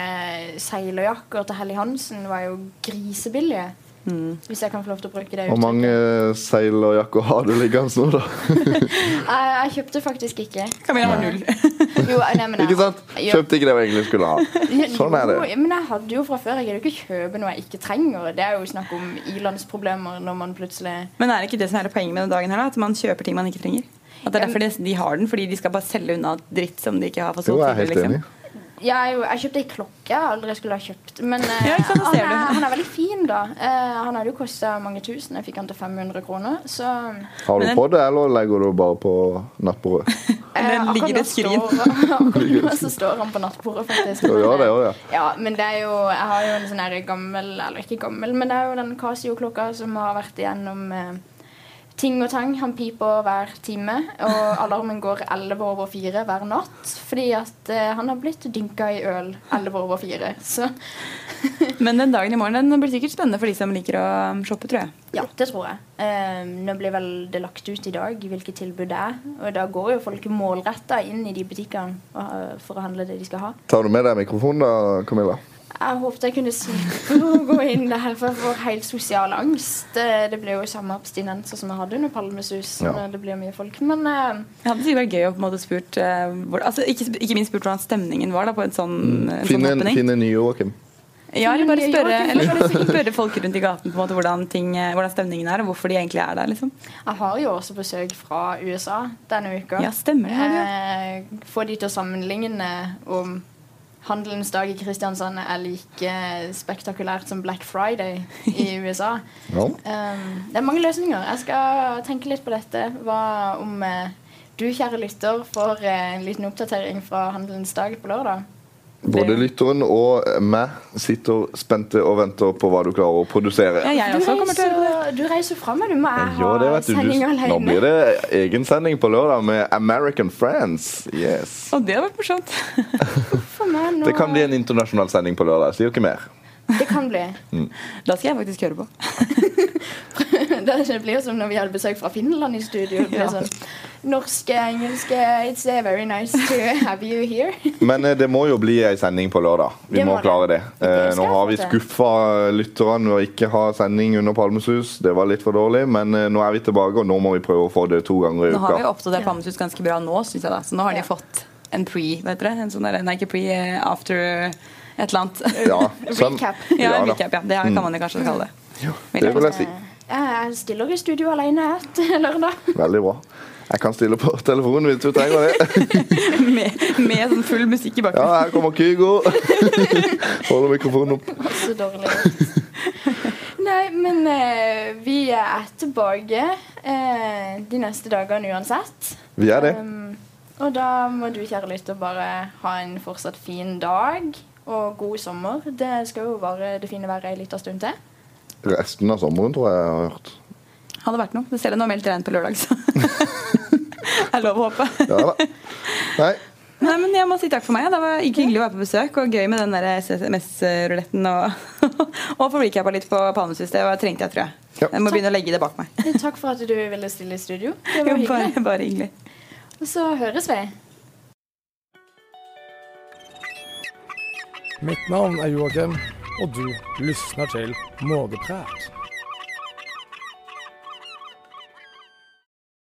[SPEAKER 3] eh, seilerjakker til Helly Hansen var jo grisebillige.
[SPEAKER 6] Mm.
[SPEAKER 3] Hvis jeg kan få lov til å bruke det
[SPEAKER 4] Hvor
[SPEAKER 3] uttrykket.
[SPEAKER 4] mange seilerjakker har du liggende nå, da?
[SPEAKER 3] Jeg, jeg kjøpte faktisk ikke.
[SPEAKER 6] Camilla har null. *laughs*
[SPEAKER 3] Jo, nei, men jeg,
[SPEAKER 4] *laughs* Ikke sant?
[SPEAKER 3] Jo.
[SPEAKER 4] Kjøpte ikke det jeg egentlig skulle ha. Sånn er det.
[SPEAKER 3] Jo, men jeg hadde jo fra før. Jeg gidder jo ikke kjøpe noe jeg ikke trenger. Det er jo snakk om ilandsproblemer når man plutselig
[SPEAKER 6] Men er det ikke det som er hele poenget med den dagen her, da? At man kjøper ting man ikke trenger? At det er derfor de, de har den, fordi de skal bare selge unna dritt som de ikke har fått
[SPEAKER 4] Jo,
[SPEAKER 6] solgt
[SPEAKER 4] jeg er helt
[SPEAKER 6] tidligere,
[SPEAKER 4] enig.
[SPEAKER 3] Ja, jeg, jeg kjøpte ei klokke jeg aldri skulle ha kjøpt. Men eh,
[SPEAKER 6] Ja, ikke sant, det
[SPEAKER 3] han,
[SPEAKER 6] ser
[SPEAKER 3] er,
[SPEAKER 6] du.
[SPEAKER 3] han er veldig fin, da. Eh, han hadde jo kosta mange tusen. Jeg fikk han til 500 kroner. Så
[SPEAKER 4] Har du på det, eller legger du bare på nattbordet?
[SPEAKER 3] Eh, akkurat
[SPEAKER 6] ligger i et
[SPEAKER 3] nå
[SPEAKER 6] skrin. *laughs*
[SPEAKER 3] står- *laughs* Akkurat nå så står han på nattbordet, faktisk.
[SPEAKER 4] Jo, gjør det, gjør det.
[SPEAKER 3] Ja, men det er jo Jeg har jo en sånn her gammel Eller ikke gammel, men det er jo den Casio-klokka som har vært igjennom eh, ting og tang. Han piper hver time,
[SPEAKER 4] *laughs*
[SPEAKER 3] og alarmen går 11 over 4 hver natt. Fordi at eh, han har blitt dynka i øl 11 over 4. Så
[SPEAKER 6] liksom. Men den dagen i morgen den blir sikkert spennende for de som liker å um, shoppe, tror jeg.
[SPEAKER 3] ja, det tror jeg. Eh, nå blir vel det lagt ut i dag hvilke tilbud det er. Og da går jo folk målretta inn i de butikkene og, eh, for å handle det de skal ha.
[SPEAKER 4] Tar du med deg mikrofonen da, Camilla?
[SPEAKER 3] Jeg håpet jeg kunne slippe å gå inn der, for jeg får helt sosial angst. Eh, Det, det blir jo samme abstinenser som jeg hadde under Palmesus.
[SPEAKER 6] Ja.
[SPEAKER 3] når Det blir mye folk. Men eh,
[SPEAKER 6] Det hadde sikkert vært gøy å på en måte spurt eh, hvor, altså, ikke, ikke minst spurt hvordan stemningen var da, på en sånn, en sånn
[SPEAKER 4] Finne Mm. en,
[SPEAKER 6] happening.
[SPEAKER 4] finne en ny Joakim.
[SPEAKER 6] Ja, eller
[SPEAKER 3] Finne
[SPEAKER 6] bare
[SPEAKER 3] nye
[SPEAKER 6] spørre,
[SPEAKER 3] Joakim.
[SPEAKER 6] eller bare spørre folk rundt i gaten på en måte, hvordan, ting, eh, hvordan stemningen er, og hvorfor de egentlig er der. liksom.
[SPEAKER 3] jeg har jo også besøk fra USA denne uka.
[SPEAKER 6] Ja, stemmer det, har du jo.
[SPEAKER 3] Eh, Få de til å sammenligne om Handelens dag i Kristiansand er like spektakulært som Black Friday i USA.
[SPEAKER 4] Ja.
[SPEAKER 3] Um, det er mange løsninger. Jeg skal tenke litt på dette. Hva om eh, du, kjære lytter, får eh, en liten oppdatering fra Handelens dag på lørdag?
[SPEAKER 4] Både lytteren og meg sitter spente og venter på hva du klarer å produsere.
[SPEAKER 3] du, reiser, du reiser fra meg, du må jeg
[SPEAKER 4] Jo, det
[SPEAKER 3] ha
[SPEAKER 4] vet du. du.
[SPEAKER 3] sending
[SPEAKER 4] Nå
[SPEAKER 3] alene.
[SPEAKER 4] blir det egensending på lørdag med American Friends. Yes.
[SPEAKER 6] Og det hadde vært morsomt. *laughs*
[SPEAKER 3] For meg nå.
[SPEAKER 4] Det kan bli en internasjonal sending på lørdag. Sier ikke mer.
[SPEAKER 3] Det kan bli.
[SPEAKER 4] Mm.
[SPEAKER 6] Da skal jeg faktisk høre på.
[SPEAKER 3] *laughs* det blir som når vi hadde besøk fra Finland i studio. Det blir
[SPEAKER 6] Ja.
[SPEAKER 3] sånn norske, engelske It's eh, very nice to have you here.
[SPEAKER 4] Men eh, det må jo bli ei sending på lørdag. Vi
[SPEAKER 3] Det må
[SPEAKER 4] må,
[SPEAKER 3] det.
[SPEAKER 4] klare det. Eh,
[SPEAKER 3] skal
[SPEAKER 4] nå
[SPEAKER 3] jeg
[SPEAKER 4] har
[SPEAKER 3] få
[SPEAKER 4] vi
[SPEAKER 3] til.
[SPEAKER 4] skuffa lytterne ved å ikke ha sending under Palmesus. Det var litt for dårlig, men eh, nå er vi tilbake, og nå må vi prøve å få det to ganger i
[SPEAKER 6] Nå har vi jo
[SPEAKER 4] uka.
[SPEAKER 6] oppdatert Palmesus ganske bra nå, synes jeg. da Så nå har de fått en pre, vet dere. En sånn der, nei, ikke pre, eh, after et eller annet.
[SPEAKER 4] Ja, som- Recap.
[SPEAKER 6] Ja,
[SPEAKER 4] *laughs* Ja
[SPEAKER 6] en
[SPEAKER 4] da. Mm.
[SPEAKER 6] recap, ja. Det kan man jo kanskje kalle det. *laughs*
[SPEAKER 4] Det vil jeg si.
[SPEAKER 3] Jeg stiller i studio alene etter lørdag.
[SPEAKER 4] Veldig bra. Jeg kan stille på telefonen hvis du trenger det.
[SPEAKER 6] med, med sånn full musikk i
[SPEAKER 4] Ja, her kommer Kygo. Holder mikrofonen opp.
[SPEAKER 3] Så dårlig. *laughs* Nei, men eh, vi er tilbake eh, de neste dagene uansett.
[SPEAKER 4] Vi er det.
[SPEAKER 3] Um, og da må du, kjære lytter, bare ha en fortsatt fin dag og god sommer. Det skal jo være det fine været ei lita stund til.
[SPEAKER 4] Resten av sommeren, tror jeg jeg har hørt.
[SPEAKER 6] bakgrunnen. Hadde vært noe. Det ser jeg nå meldt regn på lørdag,
[SPEAKER 4] *laughs*
[SPEAKER 6] så *laughs* er lov å håpe.
[SPEAKER 4] Ja da. Nei.
[SPEAKER 6] Nei, men Jeg må si takk for meg. Det var hyggelig å være på besøk og gøy med den der SMS-ruletten. Og, *laughs* og få recapa litt på Palmesus. Det var, trengte jeg, tror jeg. Jeg må begynne å legge det bak meg.
[SPEAKER 3] Takk for at du ville stille i studio. Det var
[SPEAKER 6] Jo, *laughs* bare,
[SPEAKER 3] hyggelig.
[SPEAKER 6] bare hyggelig.
[SPEAKER 3] Og så høres vi.
[SPEAKER 7] Mitt navn er Joakim, og du lysner til Mågeprat.